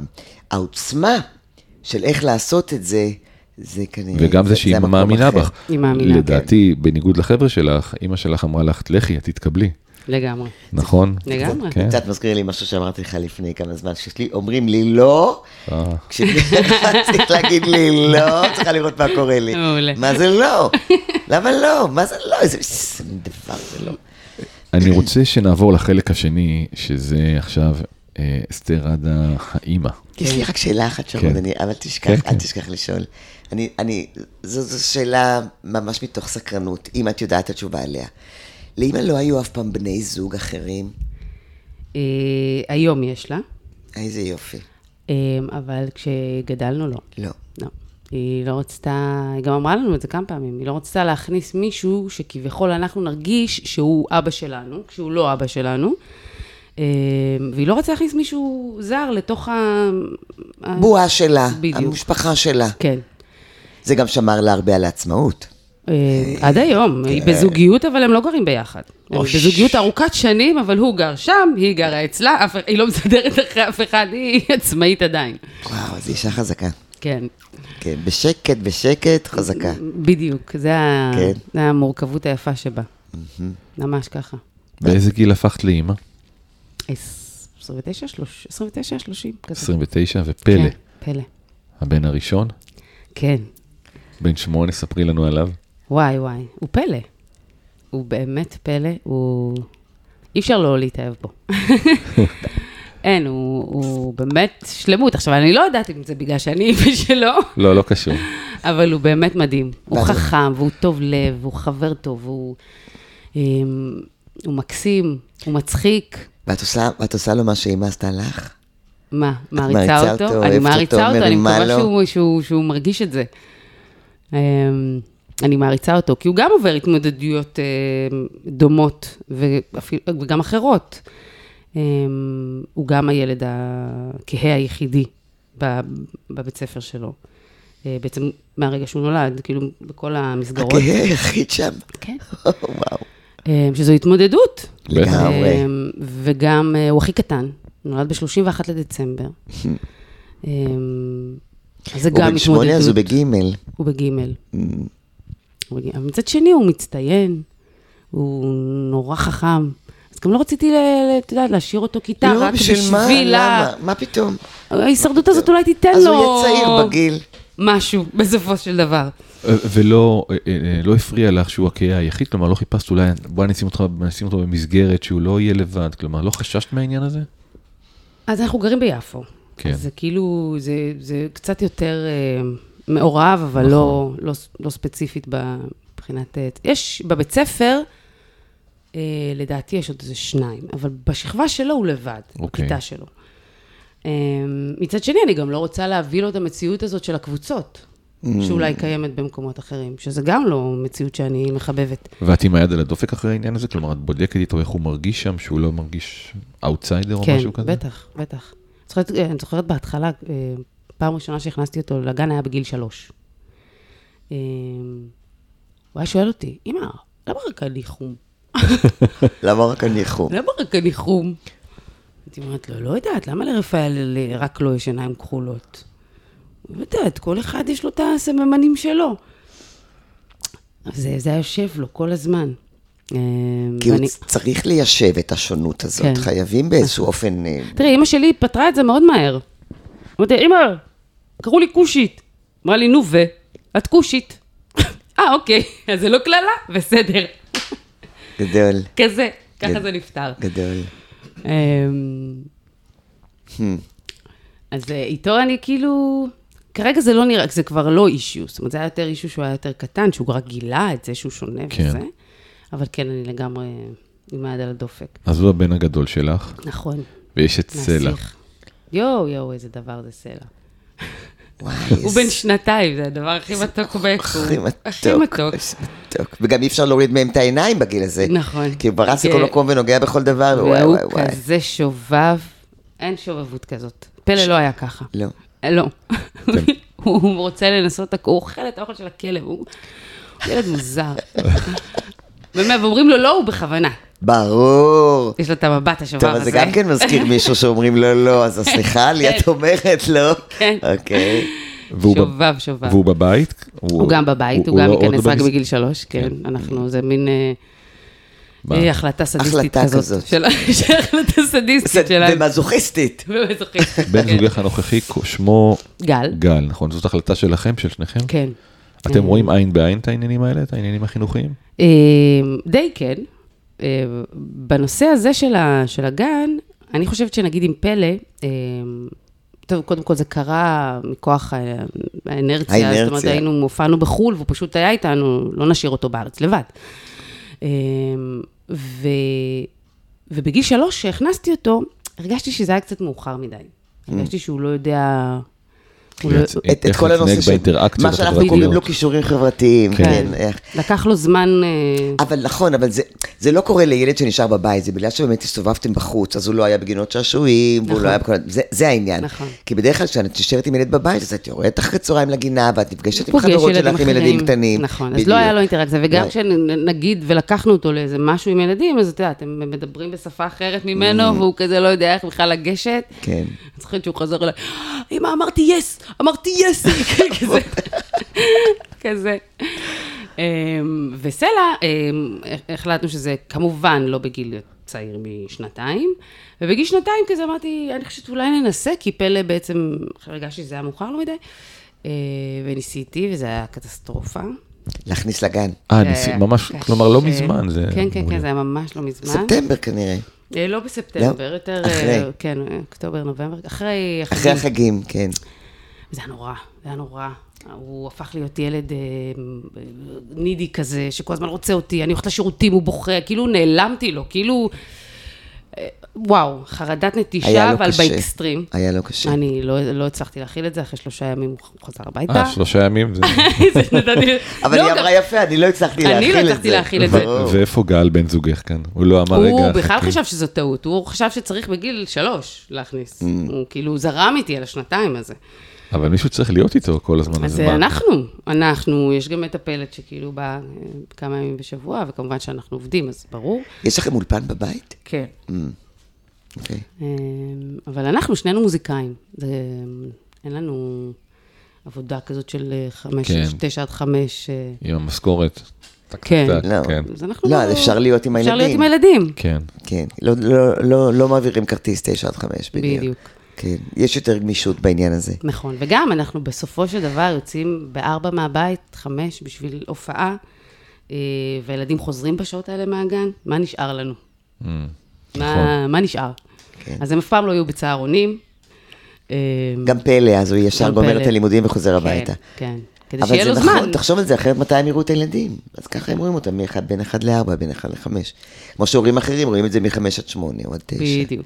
B: העוצמה של איך לעשות את זה, זה כנראה...
A: וגם זה שהיא
B: המקום
A: מאמינה
B: אחר.
A: בך.
C: היא מאמינה. כן.
A: לדעתי, בניגוד לחבר'ה שלך, אימא שלך אמרה לך, לכי, את תתקבלי,
C: לגמרי.
A: נכון?
C: לגמרי.
A: כן.
B: קצת מזכיר לי משהו שאמרתי לך לפני כמה זמן, שאומרים לי לא,
A: אה.
B: (laughs) כשצריך להגיד לי לא, צריכה לראות מה קורה לי.
C: מעולה.
B: מה זה לא? למה לא? מה זה לא? איזה איזה דבר זה לא.
A: אני רוצה שנעבור לחלק השני, שזה עכשיו אה, אסתר עדה האימא.
B: יש לי רק שאלה אחת
A: כן.
B: שרון, אני, אבל תשכח,
A: כן,
B: אל
A: כן.
B: תשכח לשאול. אני, אני, זו, זו שאלה ממש מתוך סקרנות, אם את יודעת את התשובה עליה. לאמא לא היו אף פעם בני זוג אחרים?
C: אה, היום יש לה,
B: איזה יופי.
C: אה, אבל כשגדלנו לא.
B: לא.
C: לא. היא לא רצתה, היא גם אמרה לנו את זה כמה פעמים, היא לא רצתה להכניס מישהו שכביכול אנחנו נרגיש שהוא אבא שלנו, כשהוא לא אבא שלנו. אה, והיא לא רצתה להכניס מישהו זר לתוך ה... ה-
B: בועה שלה,
C: אה, בדיוק.
B: המשפחה שלה.
C: כן.
B: זה גם שמר לה הרבה על העצמאות.
C: אה, עד היום, היא בזוגיות, אבל הם לא גרים ביחד. הם
B: אוש.
C: בזוגיות ארוכת שנים, אבל הוא גר שם, היא גרה אצלה, אף- היא לא מסדרת אחרי אף אחד, היא עצמאית עדיין.
B: וואו, זו אישה חזקה.
C: כן,
B: כן, בשקט, בשקט, חזקה.
C: בדיוק, זה ה-
B: כן.
C: זה המורכבות היפה שבה. ממש ככה.
A: באיזה גיל הפכת לאימא?
C: 29, 30, 29, 30, כזה.
A: 29 ופלא,
C: כן, פלא,
A: הבן הראשון,
C: כן.
A: בן שמונה, ספרי לנו עליו.
C: וואי, וואי, הוא פלא. הוא באמת פלא, הוא... אי אפשר לא להתאהב בו. אין, הוא, הוא באמת שלמות. עכשיו, אני לא יודעת אם זה בגלל שאני אימא שלו,
A: לא, לא קשור.
C: אבל הוא באמת מדהים. הוא
B: ואני-
C: חכם, והוא טוב לב, והוא חבר טוב, והוא אמ, הוא מקסים, הוא מצחיק.
B: ואת עושה, ואת עושה לו מה שאימא עשתה לך?
C: מה,
B: מעריצה
C: מעריצה
B: אותו,
C: אותו?
B: אוהבת
C: אני
B: אותו,
C: מעריצה אותו, אני
B: מרימה
C: מקווה
B: לו?
C: שהוא- שהוא- שהוא מרגיש את זה. אמ, אני מעריצה אותו, כי הוא גם עובר התמודדויות אמ, דומות ואפילו- וגם אחרות. אמ, הוא גם הילד הכהה היחידי ב- בבית ספר שלו. אה, בעצם מהרגע שהוא נולד, כאילו, בכל המסגרות.
B: הכהה היחיד שם.
C: כן.
B: (laughs) וואו.
C: אמ, שזו התמודדות.
A: בטח.
B: לגמרי.
C: אמ, וגם, אה, הוא הכי קטן, הוא נולד ב-31 לדצמבר.
B: (laughs)
C: אמ, אז זה
B: הוא
C: גם
B: בן שמונה, אז הוא Mm.
C: התמודדות.
B: בגימל.
C: הוא בגימל. הוא בגימל. אבל מצד שני, הוא מצטיין, הוא נורא חכם. אז גם לא רציתי, ל- ל- את יודעת, להשאיר אותו כיתה,
B: לא,
C: רק
B: בשביל מה?
C: בשביל ה-
B: למה? מה פתאום?
C: ההישרדות הזאת אולי תיתן לו...
B: אז הוא יהיה צעיר
C: (laughs)
B: בגיל.
C: משהו, בסופו של דבר.
A: אה, ולא אה, אה, לא הפריע לך שהוא הקהה היחיד, כלומר לא חיפשת אולי, בואי נשים אותך- נשים אותו במסגרת שהוא לא יהיה לבד, כלומר לא חששת מהעניין הזה?
C: אז אנחנו גרים ביפו.
A: כן.
C: אז זה כאילו, זה, זה קצת יותר אה, מעורב, אבל נכון. לא, לא, ס- לא ספציפית מבחינת... אה, יש בבית ספר, אה, לדעתי יש עוד איזה שניים, אבל בשכבה שלו הוא לבד,
A: אוקיי.
C: בכיתה שלו. אה, מצד שני, אני גם לא רוצה להביא לו את המציאות הזאת של הקבוצות,
A: Mm.
C: שאולי קיימת במקומות אחרים, שזה גם לא מציאות שאני מחבבת.
A: ואת עם היד על הדופק אחרי העניין הזה? כלומר, את בודקת איתו איך הוא מרגיש שם, שהוא לא מרגיש אאוטסיידר או משהו כזה?
C: כן, בטח, בטח. אני זוכרת, אני זוכרת בהתחלה, אה, פעם ראשונה שהכנסתי אותו לגן היה בגיל שלוש. אה, הוא היה שואל אותי, אמא, למה רק אני חום?
B: למה רק אני חום?
C: למה רק אני חום? הייתי אומרת לו, לא יודעת, למה לרפאל רק לו יש עיניים כחולות? לא יודעת, כל אחד יש לו את הסממנים שלו. זה, זה היה יושב לו כל הזמן. אה,
B: כי הוא
C: ואני-
B: צריך ליישב את השונות הזאת.
C: כן.
B: חייבים באיזשהו אופן... אה,
C: תראי, אימא שלי פתרה את זה מאוד מהר. אמרתי, אימא, קראו לי כושית. אמרה לי, נו ו, את כושית. (laughs) אה, אוקיי, אז זה לא קללה? בסדר.
B: גדול,
C: כזה, ככה
B: כן.
C: זה נפתר.
B: גדול.
A: כן.
C: אמ, אז אה, איתו אני כאילו... כרגע זה לא נראה, זה כבר לא אישיו. זאת אומרת, זה היה יותר אישיו שהוא היה יותר קטן, שהוא רק גילה את זה שהוא שונה
A: כן.
C: וזה. אבל כן, אני לגמרי עם היד על הדופק.
A: אז הוא הבן הגדול שלך,
C: נכון,
A: ויש את סלע.
C: נסיך. יואו, יואו, איזה דבר זה סלע.
B: וואי,
C: הוא בן שנתיים, זה הדבר הכי מתוק ביקום.
B: הכי מתוק.
C: הכי מתוק.
B: מתוק. וגם אי אפשר להוריד מהם את העיניים בגיל הזה.
C: נכון.
B: כי הוא ברס
C: כן.
B: לכל מקום ונוגע בכל דבר, ווואי
C: והוא
B: וואי וואי.
C: כזה שובב, אין שובבות כזאת. פלא לא היה ככה.
B: לא. כן.
C: אה, לא. (laughs) הוא רוצה לנסות, הכ- הוא אוכל את האוכל של הכלב, הוא הוא ילד מוזר. באמת, ואומרים לו לא, הוא בכוונה.
B: ברור.
C: יש לו את המבט השובב
B: טוב,
C: הזה.
B: אז זה גם כן מזכיר מישהו שאומרים לו לא, אז סליחה לי, את אומרת לא.
C: כן.
B: אוקיי.
C: (laughs)
A: והוא ב-
C: שובב, שובב.
A: והוא בבית?
C: הוא גם בבית, הוא
A: לא-
C: גם
A: עוד
C: ייכנס
A: לא
C: רק
A: במס-
C: בגיל שלוש, כן. אנחנו, זה מין אה,
A: מה?
C: אה, החלטה סדיסטית
B: החלטה
C: כזאת.
B: כזאת.
C: של- (laughs) של החלטה סדיסטית שלנו.
B: ומזוכיסטית.
C: (laughs) ומזוכיסטית,
A: בן
C: כן. (laughs)
A: זוגך הנוכחי, שמו
C: גל.
A: גל, נכון? זאת החלטה שלכם, של שניכם?
C: כן.
A: אתם רואים עין בעין את העניינים האלה, את העניינים החינוכיים?
C: אה, די כן. אה, בנושא הזה של, ה, של הגן, אני חושבת שנגיד עם פלא, אה, טוב, קודם כל זה קרה מכוח ה- האנרציה, האנרציה. זאת אומרת,
B: האינרציה.
C: היינו, הופענו בחו"ל, והוא פשוט היה איתנו, לא נשאיר אותו בארץ לבד. אה, ו, ובגיל שלוש, כשהכנסתי אותו, הרגשתי שזה היה קצת מאוחר מדי. הרגשתי שהוא לא יודע... הוא לא-
A: איך
B: את, את כל הנושא
A: להתנהג באינטראקציות
B: מה שאנחנו לא- קוראים לו
A: החברתיות.
B: כישורים חברתיים,
A: כן.
B: כן.
C: כן.
B: איך.
C: לקח לו זמן... אה,
B: אבל נכון, אבל זה, זה לא קורה לילד שנשאר בבית, זה בגלל שבאמת הסתובבתם בחוץ, אז הוא לא היה בגינות שעשועים, והוא
C: נכון.
B: לא היה בכל... זה, זה העניין.
C: נכון.
B: כי בדרך כלל כשאת יושבת עם ילד בבית, אז את יורדת אחרי צהריים לגינה, ואת נפגשת עם
C: פוגש
B: חברות שלך, עם
C: אחרים.
B: ילדים קטנים.
C: נכון, אז לא היה לו אינטראקציה, וגם
B: לא.
C: כשנגיד ולקחנו אותו לאיזה משהו עם ילדים, אז אתה יודע, אתם מדברים בשפה אחרת ממנו,
B: Mm.
C: והוא כזה לא יודע איך בכלל לגשת.
B: כן.
C: אני זוכרת שהוא חזר אליי, אמא, אמרתי יס, אמרתי יס,
A: (laughs)
C: כזה. כזה. אמ, וסלע, אמ, החלטנו שזה כמובן לא בגיל צעיר משנתיים, ובגיל שנתיים כזה אמרתי, אני חושבת אולי ננסה, כי פלא בעצם, הרגשתי שזה היה מאוחר לא מדי, אה, וניסיתי, וזה היה קטסטרופה.
B: להכניס לגן.
A: אה,
C: זה
A: ניסי-
C: היה
A: ממש,
C: קשה.
A: כלומר לא מזמן, זה...
C: כן, כן, כן, זה היה ממש לא מזמן.
B: ספטמבר כנראה,
C: אה, לא בספטמבר,
B: לא?
C: יותר...
B: אחרי.
C: אה, כן, אה, אוקטובר, נובמבר, אחרי...
B: אחרי
C: החגים.
B: החגים, כן.
C: זה היה נורא, זה היה נורא. הוא הפך להיות ילד אה, נידי כזה, שכל הזמן רוצה אותי, אני הולכת לשירותים, הוא בוכה, כאילו נעלמתי לו, כאילו... אה, וואו, חרדת
B: היה
C: נטישה,
B: לו
C: אבל
B: קשה.
C: באקסטרים.
B: היה לו קשה.
C: אני לא, לא הצלחתי להכיל את זה, אחרי שלושה ימים הוא חזר הביתה.
A: אה, שלושה ימים זה...
C: (laughs) זה נתתי-
B: אבל
C: לא,
B: היא
C: גם-
B: אמרה יפה, אני לא הצלחתי
C: אני לא
B: להכיל את זה.
C: הצלחתי להכיל את זה.
B: ברור.
A: ואיפה גל בן זוגך כאן? הוא לא אמר רגע...
C: הוא בכלל
A: חכי."
C: חשב שזו טעות, הוא חשב שצריך בגיל שלוש
B: Mm.
C: להכניס. הוא כאילו זרם איתי על השנתיים הזה.
A: אבל מישהו צריך להיות איתו כל הזמן.
C: אז
A: מה?
C: אנחנו, אנחנו, יש גם מטפלת שכאילו באה אה, כמה ימים בשבוע, וכמובן שאנחנו עובדים, אז ברור.
B: יש לכם אולפן בבית? Mm,
C: כן.
B: אוקיי.
C: אה, אבל אנחנו שנינו מוזיקאים, זה, אין לנו עבודה כזאת של אה, חמש,
A: כן.
C: תשע עד חמש. אה,
A: עם המשכורת.
C: כן.
A: טק,
B: לא.
A: כן.
C: אז אנחנו...
B: לא, אז אפשר להיות עם
C: אפשר להיות
B: הילדים.
C: עם הילדים.
A: כן.
B: כן, לא- לא- לא- לא מעבירים כרטיס 9 עד 5, בדיוק.
C: בדיוק.
B: כן, יש יותר גמישות בעניין הזה.
C: נכון, וגם אנחנו בסופו של דבר יוצאים בארבע מהבית, חמש, בשביל הופעה, אה, והילדים חוזרים בשעות האלה מהגן, מה נשאר לנו?
A: נכון.
C: מה, מה נשאר?
B: כן.
C: אז הם אף פעם לא יהיו בצהרונים. אה,
B: גם פלא, אז הוא ישר
C: גם
B: גומר
C: פלא.
B: את הלימודים וחוזר הביתה.
C: כן, כדי
B: אבל
C: שיהיה
B: זה
C: לו
B: נכון,
C: זמן.
B: תחשוב על זה, אחרת מתי הם יראו את הילדים? אז ככה הם רואים אותם, מאחד- בין 1 ל-4, בין 1 ל-5. כמו שהורים אחרים רואים את זה מ-5 עד 8 או עד 9.
C: בדיוק.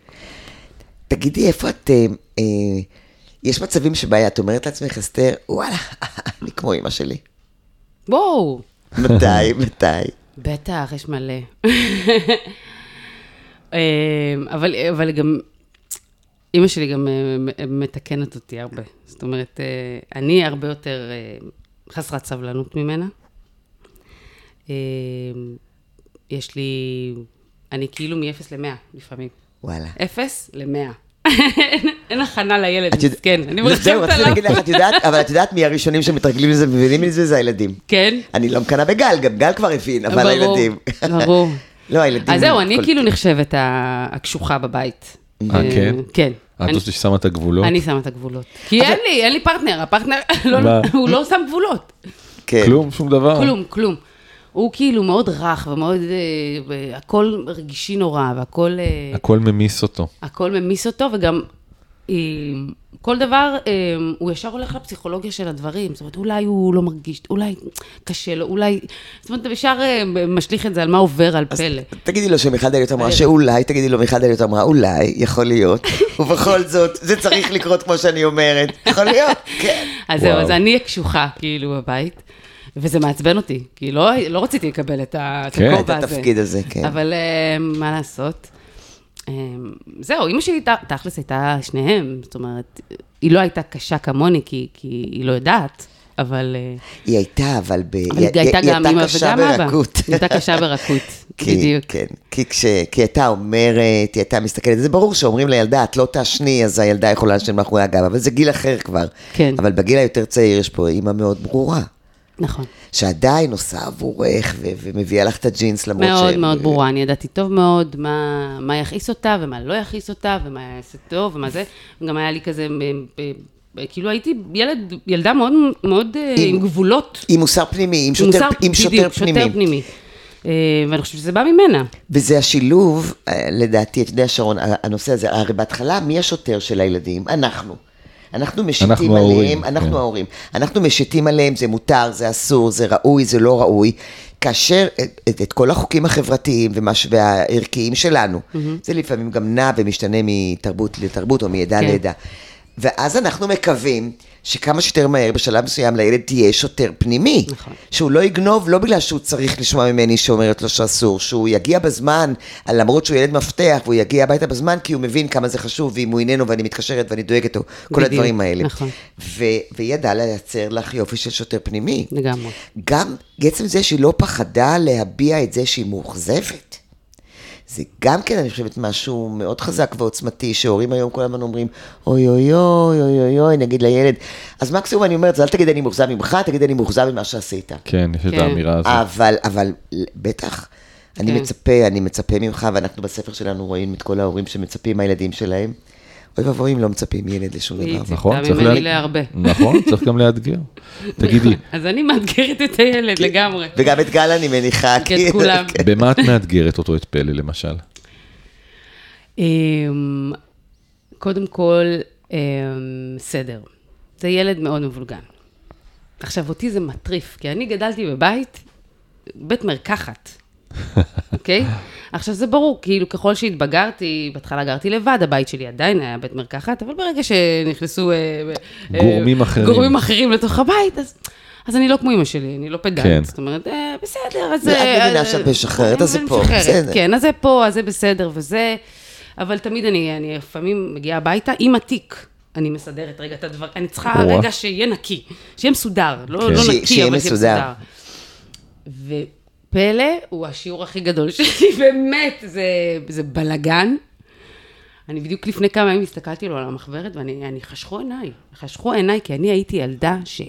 B: תגידי, איפה את... אה, אה, יש מצבים שבעיה, את אומרת לעצמך, אסתר, וואלה, (laughs) אני כמו אימא שלי.
C: בואו,
B: מתי, מתי?
C: בטח, יש מלא. (laughs) אה, אבל, אבל גם, אימא שלי גם אה, מ- מתקנת אותי הרבה. זאת אומרת, אה, אני הרבה יותר אה, חסרת סבלנות ממנה. אה, יש לי, אני כאילו מ-0 ל-100 לפעמים.
B: וואלה.
C: 0 ל-100. (laughs) אין הכנה לילד,
B: את יודעת-
C: מסכן. אני
B: לא, זהו,
C: מרחמת
B: רציתי
C: עליו.
B: להגיד לך, את יודעת, אבל את יודעת מי הראשונים שמתרגלים לזה ומבינים מזה? זה הילדים.
C: כן.
B: אני לא מקנאה בגל, גם גל כבר הבין, אבל
C: ברור,
B: הילדים.
C: ברור.
B: (laughs) לא, הילדים...
C: אז זהו, אני
B: כל-
C: כאילו נחשבת ה- הקשוחה בבית.
A: אה, כן?
C: כן.
A: את
C: אני-
A: זאת ששמה את הגבולות?
C: אני שמה את הגבולות.
B: אוקיי.
C: כי אין לי, אין לי פרטנר, הפרטנר, (laughs) לא-
A: מה?
C: הוא לא שם גבולות.
B: כן.
A: כלום, שום דבר.
C: כלום, כלום. הוא כאילו מאוד רך ומאוד, אה, ו- הכל רגישי נורא, והכל אה,
A: הכל ממיס אותו.
C: הכל ממיס אותו, וגם אה, כל דבר, אה, הוא ישר הולך לפסיכולוגיה של הדברים. זאת אומרת, אולי הוא לא מרגיש, אולי קשה לו, אולי... זאת אומרת, הוא ישר אה, משליך את זה על מה עובר, על פלא.
B: תגידי לו שמיכל דליות אמרה שאולי, תגידי לו מיכל דליות אמרה אולי, יכול להיות, (laughs) ובכל זאת, זה צריך לקרות כמו שאני אומרת, יכול להיות, כן.
C: אז זהו,
A: וואו.
C: אז אני הקשוחה, כאילו, בבית, וזה מעצבן אותי, כי לא, לא רציתי לקבל את ה- את
A: כן.
C: הכובע
B: את
C: הזה.
B: התפקיד הזה, כן.
C: אבל אה, מה לעשות? אה, זהו, אימא שלי ת- תכלס הייתה שניהם, זאת אומרת, היא לא הייתה קשה כמוני, כי, כי היא לא יודעת, אבל... אה,
B: היא הייתה, אבל ב...
C: אבל היא הייתה גם אימא וגם אבא.
B: ברכות.
C: היא הייתה קשה ברכות,
B: כי-
C: בדיוק.
B: (laughs) כן, כי כש... כי הייתה אומרת, היא הייתה מסתכלת, זה ברור שאומרים לילדה, את לא תעשני, אז הילדה יכולה לשבת מאחורי הגב, אבל זה גיל אחר כבר.
C: כן.
B: אבל בגיל היותר צעיר יש פה אימא מאוד ברורה,
C: נכון.
B: שעדיין עושה עבורך ו- ומביאה לך את הג'ינס למרות אה, ש...
C: מאוד מאוד ברורה, אני ידעתי טוב מאוד מה, מה יכעיס אותה ומה לא יכעיס אותה ומה יעשה טוב ומה זה. גם היה לי כזה, מ- מ- מ- כאילו הייתי ילד, ילדה מאוד, מאוד אה,
B: עם-
C: עם גבולות.
B: עם מוסר פנימי, עם שוטר, עם שוטר
C: בדיוק,
B: פנימי.
C: שוטר פנימי. אה, ואני חושבת שזה בא ממנה.
B: וזה השילוב, אה, לדעתי, אתה יודע, שרון, ה- הנושא הזה, הרי בהתחלה, מי השוטר של הילדים? אנחנו. אנחנו משיתים
A: אנחנו
B: עליהם,
A: ההורים,
B: אנחנו
A: כן.
B: ההורים. אנחנו משיתים עליהם, זה מותר, זה אסור, זה ראוי, זה לא ראוי. כאשר את, את, את כל החוקים החברתיים ומש, והערכיים שלנו, mm-hmm. זה לפעמים גם נע ומשתנה מתרבות לתרבות או מעדה
C: כן.
B: לעדה. ואז אנחנו מקווים שכמה שיותר מהר, בשלב מסוים, לילד תהיה שוטר פנימי.
C: נכון.
B: שהוא לא יגנוב, לא בגלל שהוא צריך לשמוע ממני שאומרת לו שאסור, שהוא יגיע בזמן, למרות שהוא ילד מפתח, והוא יגיע הביתה בזמן, כי הוא מבין כמה זה חשוב, ואם הוא איננו ואני מתקשרת ואני דואגת לו, כל
C: בדיוק,
B: הדברים האלה.
C: נכון.
B: ו- וידע לייצר לך יופי של שוטר פנימי.
C: לגמרי.
B: גם עצם זה שהיא לא פחדה להביע את זה שהיא מאוכזבת. זה גם כן, אני חושבת, משהו מאוד חזק ועוצמתי, שהורים היום כל הזמן אומרים, אוי אוי אוי אוי אוי אוי, נגיד לילד. אז מקסימום אני אומרת, אז אל תגיד אני מאוכזב ממך, תגיד אני מאוכזב ממה שעשית.
A: כן, יש את
C: כן.
B: אה,
A: האמירה הזאת.
B: אבל, אבל, בטח. אני
C: כן.
B: מצפה, אני מצפה ממך, ואנחנו בספר שלנו רואים את כל ההורים שמצפים מהילדים שלהם. אוי ואבוי אם לא מצפים מילד לשום
C: היא
B: דבר.
C: ציפתה
A: נכון, צריך
C: ממני
A: לה-
C: להרבה.
A: נכון, צריך גם
C: (laughs)
A: לאתגר. תגידי,
C: אז אני מאתגרת את הילד
B: כן.
C: לגמרי.
B: וגם את גל אני מניחה,
C: את כולם.
B: כן.
A: במה את מאתגרת אותו, את פלא למשל?
C: אמ, קודם כל, אמ, סדר. זה ילד מאוד מבולגן. עכשיו, אותי זה מטריף, כי אני גדלתי בבית, בית
A: (laughs)
C: מרקחת, אוקיי? עכשיו, זה ברור, כאילו, ככל שהתבגרתי, בהתחלה גרתי לבד, הבית שלי עדיין היה בית מרקחת, אבל ברגע שנכנסו... אה, אה,
A: גורמים אחרים.
C: גורמים אחרים לתוך הבית, אז... אז אני לא כמו אימא שלי, אני לא פדנט.
A: כן.
C: זאת אומרת, אה, בסדר, אז...
B: ואת
C: אה,
B: מבינה
C: אז-
B: שאת משחררת, אז זה
C: אני
B: פה,
C: משחררת,
B: בסדר.
C: כן, אז זה פה, אז זה בסדר וזה, אבל תמיד אני, אני לפעמים מגיעה הביתה עם התיק. אני מסדרת רגע את הדברים, אני צריכה
A: או-אה.
C: רגע שיהיה נקי, שיהיה מסודר, לא,
A: כן.
C: לא
B: ש-
C: נקי,
B: שיהיה
C: אבל
B: מסודר.
C: שיהיה מסודר. ופלא הוא השיעור הכי גדול (laughs) שלי, באמת, זה, זה בלגן. אני בדיוק לפני כמה ימים הסתכלתי לו על המחברת, ואני אני- חשכו עיניי, חשכו עיניי, כי אני הייתי ילדה ש...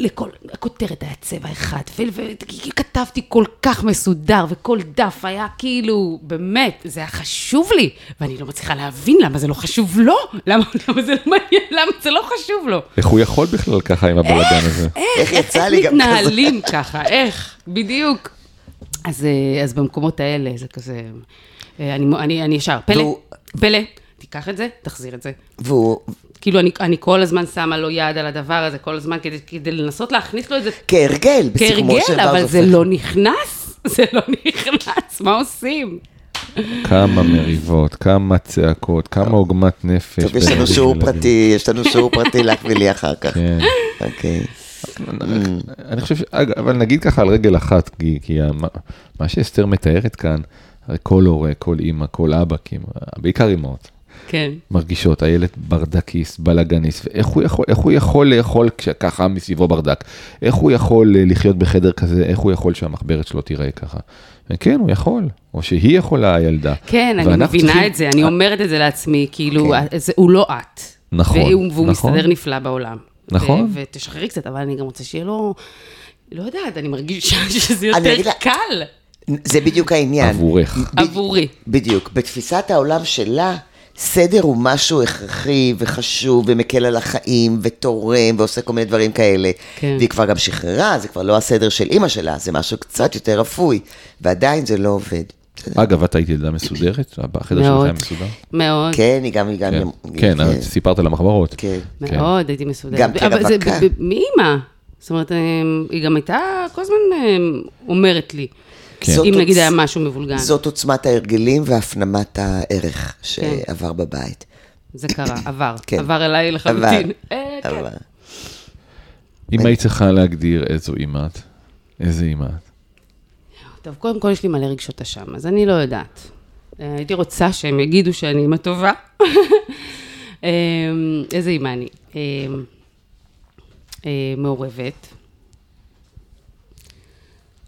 C: לכל, הכותרת היה צבע אחד, וכתבתי כל כך מסודר, וכל דף היה כאילו, באמת, זה היה חשוב לי, ואני לא מצליחה להבין למה זה לא חשוב לו, למה, למה זה לא מעניין, למה זה לא חשוב לו.
A: איך הוא יכול בכלל ככה עם הבלאגן הזה?
B: (laughs) איך יצא לי
C: איך
B: גם כזה?
C: מתנהלים ככה, איך, בדיוק. אז, אה, אז במקומות האלה זה כזה, אה, אני, אני, אני ישר, פלא,
B: והוא-
C: פלא, תיקח את זה, תחזיר את זה.
B: והוא,
C: כאילו, אני, אני כל הזמן שמה לו יד על הדבר הזה, כל הזמן כדי, כדי לנסות להכניס לו את זה
B: כהרגל, בסיכומו של
C: כהרגל,
B: דבר
C: אבל זה
B: הופך.
C: לא נכנס, (laughs) זה לא נכנס, מה עושים?
A: כמה מריבות, כמה צעקות, כמה עוגמת נפש.
B: טוב, יש לנו
A: בילדים
B: שיעור
A: ילדים.
B: פרטי, יש לנו שיעור פרטי לך ולי אחר כך.
A: כן.
B: אוקיי. Mm.
A: אני חושב ש... אג- אבל נגיד ככה על רגל אחת, כי, כי המ- מה שאסתר מתארת כאן, הרי כל הורה, כל אימא, כל אבא, כי הם- בעיקר אימהות,
C: כן.
A: מרגישות, הילד ברדקיסט, בלאגניסט, ואיך הוא יכול, איך הוא יכול לאכול כשככה מסביבו ברדק? איך הוא יכול אה, לחיות בחדר כזה? איך הוא יכול שהמחברת שלו תיראה ככה? כן, הוא יכול, או שהיא יכולה, הילדה.
C: כן, אני
A: ואנחנו
C: מבינה
A: צריכים- אה, אוקיי.
C: את זה, אני אומרת את זה לעצמי, כאילו,
B: כן.
C: זה- הוא לא את.
A: נכון,
C: והוא- והוא
A: נכון.
C: מסתדר נפלא בעולם.
A: נכון.
C: ו- ותשחררי קצת, אבל אני גם רוצה שיהיה לו... לא יודעת, אני מרגישה (laughs) שזה
B: אני
C: יותר
B: אגיד לה-
C: קל
B: זה בדיוק העניין.
A: עבורך.
B: ב-
C: עבורי.
B: בדיוק. בתפיסת העולם שלה, סדר הוא משהו הכרחי וחשוב ומקל על החיים ותורם ועושה כל מיני דברים כאלה.
C: כן.
B: והיא כבר גם שחררה, זה כבר לא הסדר של אימא שלה, זה משהו קצת יותר אפוי, ועדיין זה לא עובד.
A: אה, אגב, את היית ילדה מסודרת? החדר שלך היה מסודר?
C: מאוד.
B: כן, היא גם, היא גם... היא-
A: כן, את סיפרת על המחברות.
B: כן.
C: מאוד, הייתי מסודרת.
B: גם כן, כרווקה.
C: אבל זה ב- ב- מאימא. זאת אומרת, אמ, היא גם הייתה כל הזמן אמ, אומרת לי.
A: כן.
B: זאת
C: אם נגיד
B: עוצ-
C: היה משהו מבולגן.
B: זאת עוצמת ההרגלים והפנמת הערך
C: כן.
B: שעבר בבית.
C: זה קרה, עבר.
B: כן.
C: עבר אליי לחלוטין. אה, כן.
B: אבל-
A: אם היית צריכה להגדיר איזו אימא את, איזה אימא את?
C: טוב, קודם כל יש לי מלא רגשות אשם, אז אני לא יודעת. אה, הייתי רוצה שהם יגידו שאני אימא טובה. (laughs) אה, איזה אימא אני? אה, אה, מעורבת.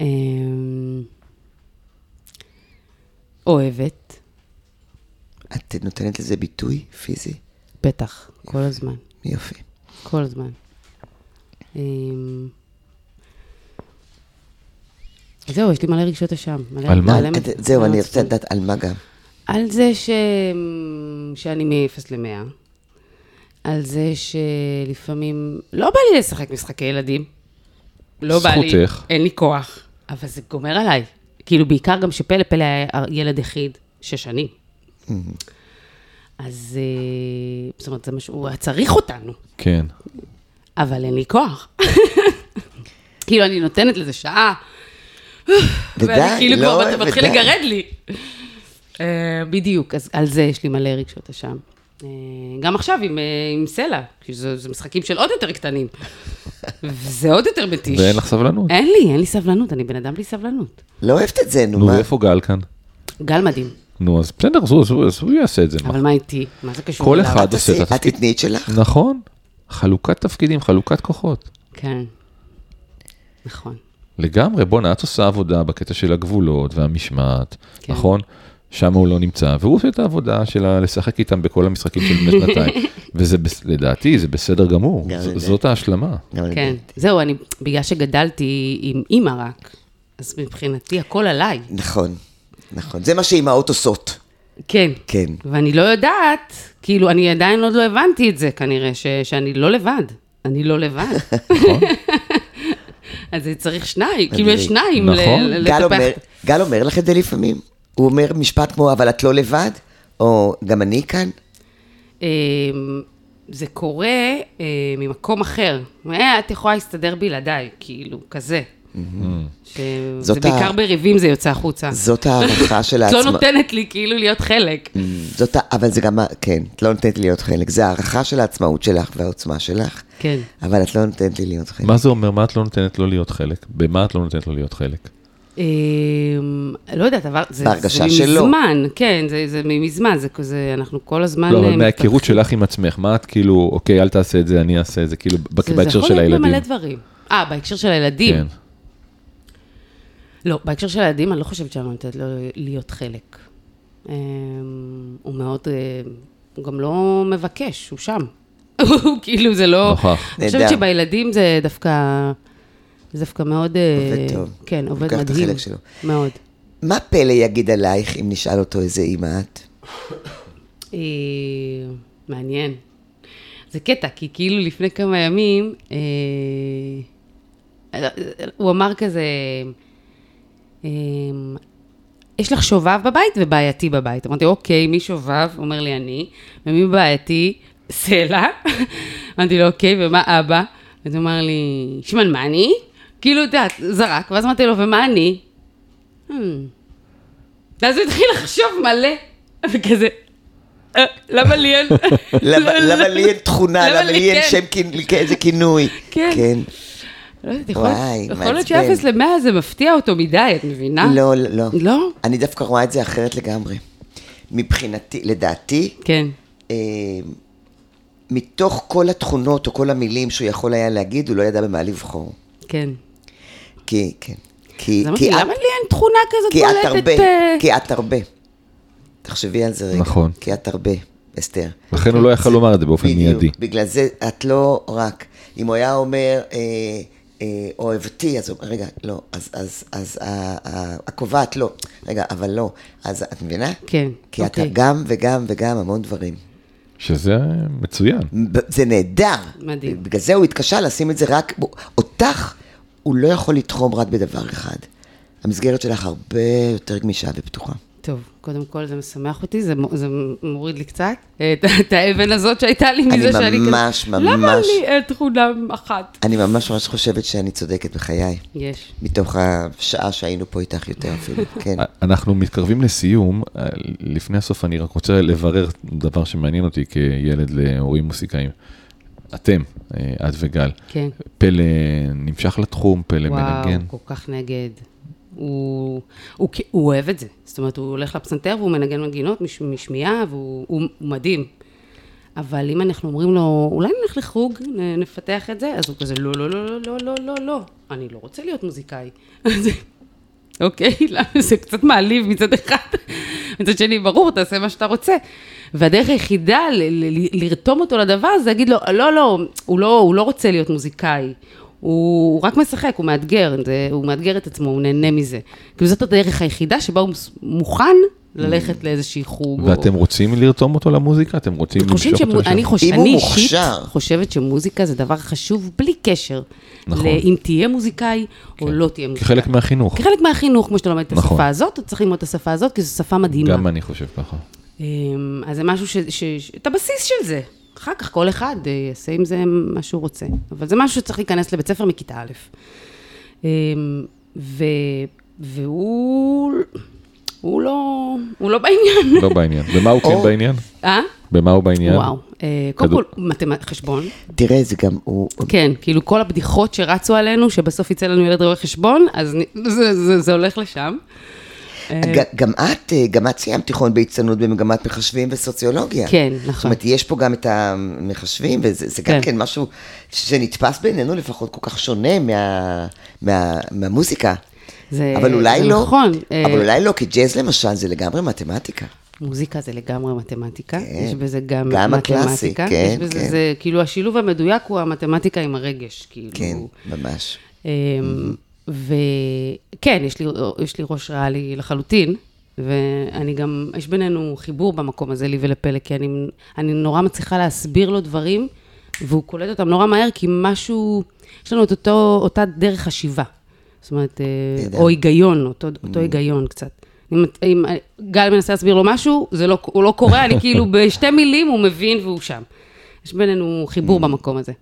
C: אה, אוהבת,
B: את נותנת לזה ביטוי פיזי?
C: בטח, כל הזמן.
B: יופי.
C: כל הזמן. אמ, זהו, יש לי מלא רגשות אשם. מלא- לא,
A: על מה?
C: מלא-
B: אה, את- זהו, אני
C: מלא
B: רוצה לדעת על מה גם.
C: על זה ש... שאני מ-0 ל-100. על זה שלפעמים לא בא לי לשחק משחקי ילדים. לא בא לי.
A: זכותך.
C: אין לי כוח. אבל זה גומר עליי. כאילו, בעיקר גם שפלא פלא היה ילד יחיד, שש שנים. אז אה, זאת אומרת, זה מה שהוא היה צריך אותנו.
A: כן.
C: אבל אין לי כוח. (laughs) כאילו, אני נותנת לזה שעה, ואני כאילו
B: לא,
C: כבר מת- מתחיל
B: ודי.
C: לגרד לי. אה, בדיוק, אז על זה יש לי מלא רגשות אשם. אה, גם עכשיו עם, אה, עם סלע, כי זה זה משחקים של עוד יותר קטנים. וזה עוד יותר מתיש.
A: ואין לך סבלנות.
C: אין לי, אין לי סבלנות, אני בן אדם בלי סבלנות.
B: לא אוהבת את זה, נו
A: נו,
B: מה?
A: ואיפה גל כאן?
C: גל מדהים,
A: נו, אז בסדר, אז הוא- אז הוא- אז הוא יעשה את זה. מה?
C: אבל מה איתי? מה זה קשור
A: כל
C: אליו?
A: אחד עושה את
B: תעשי, את
A: התפקיד.
B: תתני את שלך.
A: נכון. חלוקת תפקידים, חלוקת כוחות.
C: כן. נכון.
A: לגמרי, בואנה, את עושה עבודה בקטע של הגבולות והמשמעת,
C: כן.
A: נכון? שם הוא לא נמצא, והוא עושה את העבודה של ה- לשחק איתם בכל המשחקים של בני שנתיים. וזה, בס- לדעתי, זה בסדר גמור.
B: גם
A: ז-
B: לדעתי.
A: זאת ההשלמה.
B: גם אני
C: כן.
A: אוקיי.
B: יודעת.
C: זהו, אני, בגלל שגדלתי עם אימא רק, אז מבחינתי הכל עליי.
B: נכון, נכון. זה מה שאימהות עושות.
C: כן.
B: כן.
C: ואני לא יודעת, כאילו, אני עדיין עוד לא הבנתי את זה כנראה, ש, שאני לא לבד. אני לא
A: (laughs)
C: לבד.
A: נכון?
C: אז זה צריך שניים, כאילו יש שניים ל-
A: נכון.
C: ל-
B: גל
C: לטפח.
B: אומר- גל אומר לך את זה לפעמים. הוא אומר משפט כמו, אבל את לא לבד, או גם אני כאן.
C: אמ, זה קורה אה, ממקום אחר. אה, את יכולה להסתדר בלעדיי, כאילו, כזה.
A: Mm-hmm.
C: שזה
B: זאת
C: בעיקר
B: ה-
C: בריבים זה יוצא החוצה.
B: זאת
C: (laughs)
B: הערכה של
C: את
B: העצמאות.
C: לא נותנת לי כאילו להיות חלק.
B: זאת, ה- אבל זה גם, ה- כן, את לא נותנת לי להיות חלק. זה הערכה של העצמאות שלך והעוצמה שלך.
C: כן.
B: אבל את לא נותנת לי להיות חלק.
A: מה זה אומר? מה את לא נותנת לו להיות חלק? במה את לא נותנת לו להיות חלק?
C: אה, לא יודעת, אבל זה, זה
B: בהרגשה שלו.
C: מזמן, כן, זה, זה מזמן, זה כזה, אנחנו כל הזמן...
A: לא, אבל
C: אה,
A: מההיכרות שלך עם עצמך, מה את כאילו, אוקיי, אל תעשה את זה, אני אעשה את זה, כאילו, בק-
C: זה-
A: בהקשר של
C: זה יכול להיות
A: הילדים.
C: במלא דברים. אה, בהקשר של הילדים.
A: כן.
C: לא, בהקשר של הילדים, אני לא חושבת שאני נותנת לו להיות חלק. אמ, הוא מאוד, אה, הוא גם לא מבקש, הוא שם. (laughs) הוא כאילו, זה לא...
A: נוכח.
C: אני
B: נהדר.
C: חושבת שבילדים זה דווקא, זה דווקא מאוד... אה,
B: עובד טוב.
C: כן, עובד
B: לוקח
C: מדהים.
B: את החלק שלו.
C: מאוד.
B: מה פלא יגיד עלייך אם נשאל אותו איזה אימא את?
C: אה, מעניין. זה קטע, כי כאילו לפני כמה ימים, אה, הוא אמר כזה, אה, יש לך שובב בבית ובעייתי בבית. אמרתי, אוקיי, מי שובב? הוא אומר לי, אני. ומי בעייתי? סלע. (laughs) אמרתי לו, אוקיי, ומה אבא? אז הוא אמר לי, שמעון, מה אני? כאילו, אתה יודע, זרק, ואז אמרתי לו, ומה אני? "Hmm." ואז הוא התחיל לחשוב מלא, וכזה, "אה, למה לי אין...
B: למה למה לי אין תכונה?
C: למה
B: למה לי אין
C: כן?
B: שם, כינ- כאיזה כינוי?
C: כן.
B: כן.
C: לא יודעת, יכול להיות-
B: וואי,
C: יכול להיות
B: מעצבן.
C: שאפס למאה זה מפתיע אותו מדי, את מבינה?
B: לא, לא.
C: אה? לא?
B: אני דווקא רואה את זה אחרת לגמרי. מבחינתי, לדעתי,
C: כן,
B: אה, מתוך כל התכונות או כל המילים שהוא יכול היה להגיד, הוא לא ידע במה לבחור.
C: כן.
B: כי, כן. כי,
C: אז אמרתי,
B: כי, את,
C: למה לי אין תכונה כזאת
B: כי את
C: בולטת?
B: הרבה,
C: אה,
B: כי את הרבה. תחשבי על זה רגע.
A: נכון.
B: כי את הרבה, אסתר.
A: לכן הוא לא יכל לומר את זה באופן
B: בדיוק.
A: מיידי.
B: בגלל זה את לא רק. אם הוא היה אומר, אה, אה, אוהבתי, אז הוא אומר, רגע, לא, אז, אז, אז ה- ה- הקובעת לא. רגע, אבל לא. אז את מבינה?
C: כן,
B: כי אתה
C: אוקיי.
B: גם וגם וגם המון דברים.
A: שזה מצוין.
B: ב- זה נהדר.
C: מדהים.
B: בגלל זה הוא התקשה לשים את זה רק, בו- אותך הוא לא יכול לתחום רק בדבר אחד. המסגרת שלך הרבה יותר גמישה ופתוחה.
C: טוב, קודם כל זה משמח אותי, זה מ- זה מוריד לי קצת את ה- את האבן הזאת שהייתה לי מזה שאני... כזה,
B: ממש,
C: למה
B: ממש-
C: לי אין תכונה אחת?
B: אני ממש ממש חושבת שאני צודקת בחיי,
C: יש.
B: מתוך השעה שהיינו פה איתך יותר
C: (laughs)
B: אפילו, כן.
A: אנחנו מתקרבים לסיום, אה, לפני הסוף אני רק רוצה לברר דבר שמעניין אותי כילד להורים מוסיקאים. אתם, אה, את וגל.
C: כן.
A: פלא נמשך לתחום, פלא
C: וואו,
A: מנגן.
C: כל כך נגד. הוא, הוא, כ- הוא אוהב את זה. זאת אומרת, הוא הולך לפסנתר והוא מנגן מנגינות מש, משמיעה, והוא הוא, הוא מדהים. אבל אם אנחנו אומרים לו, אולי נלך לחוג, נ- נפתח את זה, אז הוא כזה, לא, לא, לא, לא, לא, לא, לא, אני לא רוצה להיות מוזיקאי. (laughs) אז- אוקיי, (laughs) למה זה קצת מעליב מצד אחד, מצד שני, ברור, תעשה מה שאתה רוצה. והדרך היחידה ל- ל- ל- לרתום אותו לדבר הזה, להגיד לו, לא, לא, הוא לא, הוא לא רוצה להיות מוזיקאי, הוא, הוא רק משחק, הוא מאתגר, זה, הוא מאתגר את עצמו, הוא נהנה מזה. כאילו זאת הדרך היחידה שבה הוא מס- מוכן
B: Mm.
C: ללכת לאיזשהי חוג.
A: ואתם רוצים לרתום אותו למוזיקה? אתם רוצים
C: אתם חושבים
A: למשוך אותו לשם?
C: שאני חוש...
B: אם הוא
C: אני אישית
B: מוכשר.
C: חושבת שמוזיקה זה דבר חשוב בלי קשר.
A: נכון. כן.
C: לאם תהיה מוזיקאי או לא תהיה מוזיקאי.
A: כחלק מהחינוך.
C: כחלק מהחינוך, כמו שאתה לומד את
A: נכון.
C: השפה הזאת, אתה צריך ללמוד את השפה הזאת, כי זו שפה מדהימה.
A: גם אני חושב ככה.
C: אמ, אז זה משהו ש... ש... ש... את הבסיס של זה. אחר כך כל אחד אה, יעשה עם זה מה שהוא רוצה. אבל זה משהו שצריך להיכנס לבית ספר מכיתה א'. אמ, ו... והוא... הוא לא... הוא לא בעניין.
A: לא בעניין. במה הוא
B: או-
A: כן בעניין?
C: אה?
A: במה הוא בעניין?
C: וואו. אה, קודם
A: כדור-
C: כל, מתמט... חשבון.
B: תראה, זה גם, הוא,
C: כן, כאילו כל הבדיחות שרצו עלינו, שבסוף יצא לנו ילד רואה חשבון, אז נ- זה, זה, זה הולך לשם.
B: ג- גם את, אה, גם את סיימת תיכון בהצטיינות במגמת מחשבים וסוציולוגיה.
C: כן, נכון.
B: זאת אומרת, יש פה גם את המחשבים, וזה זה גם
C: כן.
B: כן משהו שנתפס בעינינו לפחות כל כך שונה מה- מה- מהמוזיקה.
C: זה-
B: אבל אולי
C: אה, זה
B: לא,
C: נכון, אה.
B: אבל אולי לא, כי ג'אז למשל זה לגמרי מתמטיקה.
C: מוזיקה זה לגמרי מתמטיקה,
B: כן.
C: כן. יש בזה גם,
B: גם
C: מתמטיקה.
B: הקלאסי, כן,
C: יש בזה,
B: כן.
C: זה, כאילו, השילוב המדויק הוא המתמטיקה עם הרגש, כאילו.
B: כן, ממש.
C: אמ, וכן, יש לי, יש לי ראש ריאלי לחלוטין, ואני גם, יש בינינו חיבור במקום הזה, לי ולפלא, כי אני, אני נורא מצליחה להסביר לו דברים, והוא קולט אותם נורא מהר, כי משהו, יש לנו את אותו, אותה דרך חשיבה. זאת אומרת, אה,
B: נהדר.
C: או היגיון, אותו, אותו היגיון קצת. אם, את- אם אה, גל מנסה להסביר לו משהו, זה לא, הוא לא קורא, אני כאילו בשתי מילים, הוא מבין והוא שם. יש בינינו חיבור במקום הזה.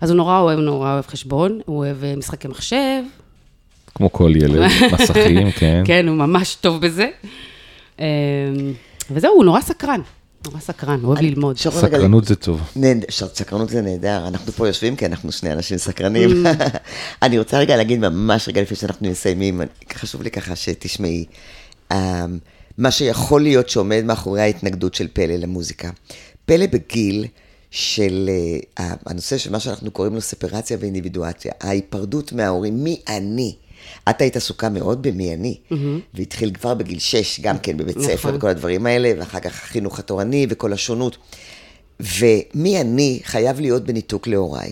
C: אז הוא נורא אוהב, נורא אוהב חשבון, הוא אוהב אה, משחקי מחשב,
A: כמו כל
C: (laughs)
A: ילד, מסכים, כן.
C: כן, הוא ממש טוב בזה. אה, וזהו, הוא נורא סקרן, נורא סקרן, הוא אוהב ללמוד.
B: שרון, רגע,
A: סקרנות זה טוב.
B: נהד- ש- סקרנות זה נהדר, אנחנו פה יושבים כי אנחנו שני אנשים סקרנים. (laughs) אני רוצה רגע להגיד ממש רגע לפני שאנחנו מסיימים, אני- חשוב לי ככה שתשמעי, אה, מה שיכול להיות שעומד מאחורי ההתנגדות של פלא למוזיקה. פלא בגיל של אה, ה- הנושא של מה שאנחנו קוראים לו ספרציה ואינדיבידואציה, ההיפרדות מההורים, מי אני? את היית עסוקה מאוד במי אני, והתחיל כבר בגיל שש, גם כן בבית ספר,
C: נכון.
B: וכל הדברים האלה, ואחר כך החינוך התורני וכל השונות. ומי אני חייב להיות בניתוק להוריי.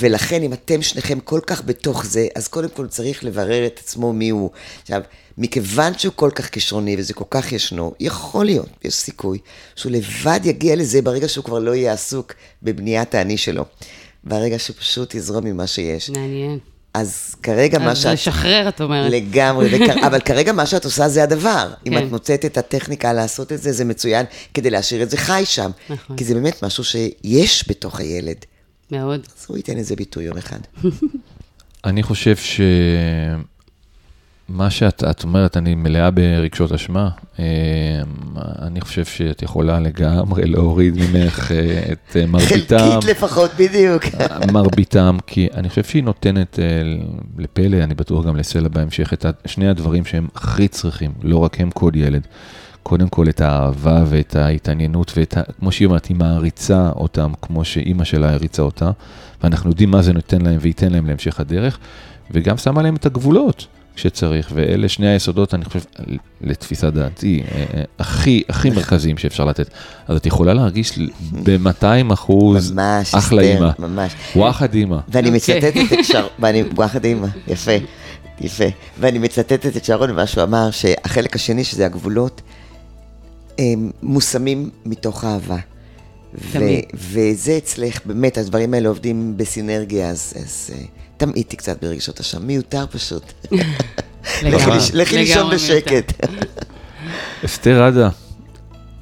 B: ולכן, אם אתם שניכם כל כך בתוך זה, אז קודם כל צריך לברר את עצמו מי הוא. עכשיו, מכיוון שהוא כל כך כישרוני וזה כל כך ישנו, יכול להיות, יש סיכוי, שהוא לבד יגיע לזה ברגע שהוא כבר לא יהיה עסוק בבניית האני שלו. ברגע שהוא פשוט יזרום ממה שיש.
C: מעניין.
B: אז כרגע מה
C: אז
B: שאת...
C: לשחרר, את אומרת.
B: לגמרי,
C: (laughs)
B: וכ... אבל כרגע מה שאת עושה זה הדבר. אם
C: כן.
B: את מוצאת את הטכניקה לעשות את זה, זה מצוין, כדי להשאיר את זה חי שם.
C: נכון.
B: כי זה באמת משהו שיש בתוך הילד.
C: מאוד.
B: אז הוא ייתן לזה ביטוי יום
C: (laughs)
B: אחד.
A: אני חושב שמה שאת את אומרת, אני מלאה ברגשות אשמה. אה, אני חושב שאת יכולה לגמרי להוריד ממך אה, את אה, מרביתם.
B: חלקית לפחות,
A: (laughs)
B: בדיוק.
A: מרביתם, כי אני חושב שהיא נותנת אה, לפלא, אני בטוח גם לסלע בהמשך, את ה- שני הדברים שהם הכי צריכים, לא רק הם, כל ילד. קודם כל את האהבה ואת ההתעניינות, ואת ה... כמו שהיא אומרת, היא מעריצה אותם, כמו שאימא שלה העריצה אותה, ואנחנו יודעים מה זה נותן להם וייתן להם להמשך הדרך, וגם שמה להם את הגבולות כשצריך, ואלה שני היסודות, אני חושב, לתפיסת דעתי, אה, אה, הכי, הכי מרכזיים שאפשר לתת. אז את יכולה להרגיש ב-200 אחוז,
B: ממש,
A: אחלה
B: אסתר,
A: אימא.
B: ממש.
A: וואחד אימא.
B: ואני
C: אוקיי.
B: מצטטת את שרון, ואני, וואחד אימא, יפה, יפה. ואני מצטטת את שרון ומה שהוא אמר, שהחלק השני, שזה הגבולות, הם מושמים מתוך אהבה. ו-
C: תמיד.
B: וזה אצלך, באמת, הדברים האלה עובדים בסינרגיה, אז, אז אה, תמעיטי קצת ברגשות אשם, מיותר פשוט. לכי
C: לגמרי.
B: לש- לכי לישון
C: לגמרי מיותר.
B: בשקט.
A: אסתר עדה,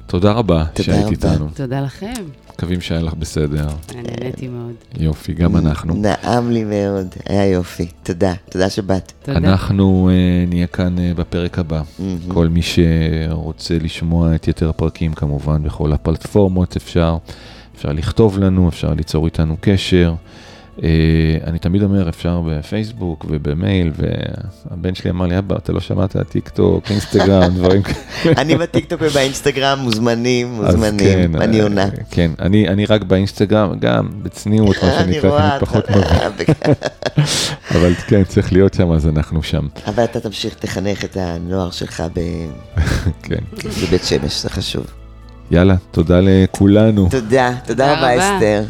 A: תודה רבה
B: תודה
A: שהיית
B: רבה.
A: איתנו.
C: תודה לכם,
A: מקווים שהיה לך בסדר.
C: אני נהניתי מאוד.
A: יופי, גם אנחנו.
B: נעם לי מאוד, היה יופי. תודה, תודה שבאת.
C: תודה.
A: אנחנו אה, נהיה כאן אה, בפרק הבא. כל מי שרוצה לשמוע את יתר הפרקים, כמובן, בכל הפלטפורמות אפשר. אפשר לכתוב לנו, אפשר ליצור איתנו קשר. אה, אני תמיד אומר, אפשר בפייסבוק ובמייל, והבן שלי אמר לי, אבא, אתה לא שמעת טיק
B: (laughs)
A: טוק, אינסטגרם, דברים כאלה.
B: אני בטיקטוק ובאינסטגרם, מוזמנים,
A: אז
B: מוזמנים,
A: כן,
B: אני
A: אה,
B: עונה.
A: כן, אני, אני רק באינסטגרם, גם בצניעות, מה
B: (laughs) אני
A: שנקרא,
B: רואה,
A: תמיד פחות
B: אתה-
A: מבין,
B: (laughs)
A: אבל כן, צריך להיות שם, אז אנחנו שם,
B: אבל אתה תמשיך, תחנך את הנוער שלך ב-
A: כן.
B: בבית שמש, זה חשוב.
A: יאללה, תודה לכולנו.
B: תודה, תודה
C: תודה
B: רבה
C: רבה.
B: אסתר.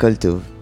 B: כל טוב.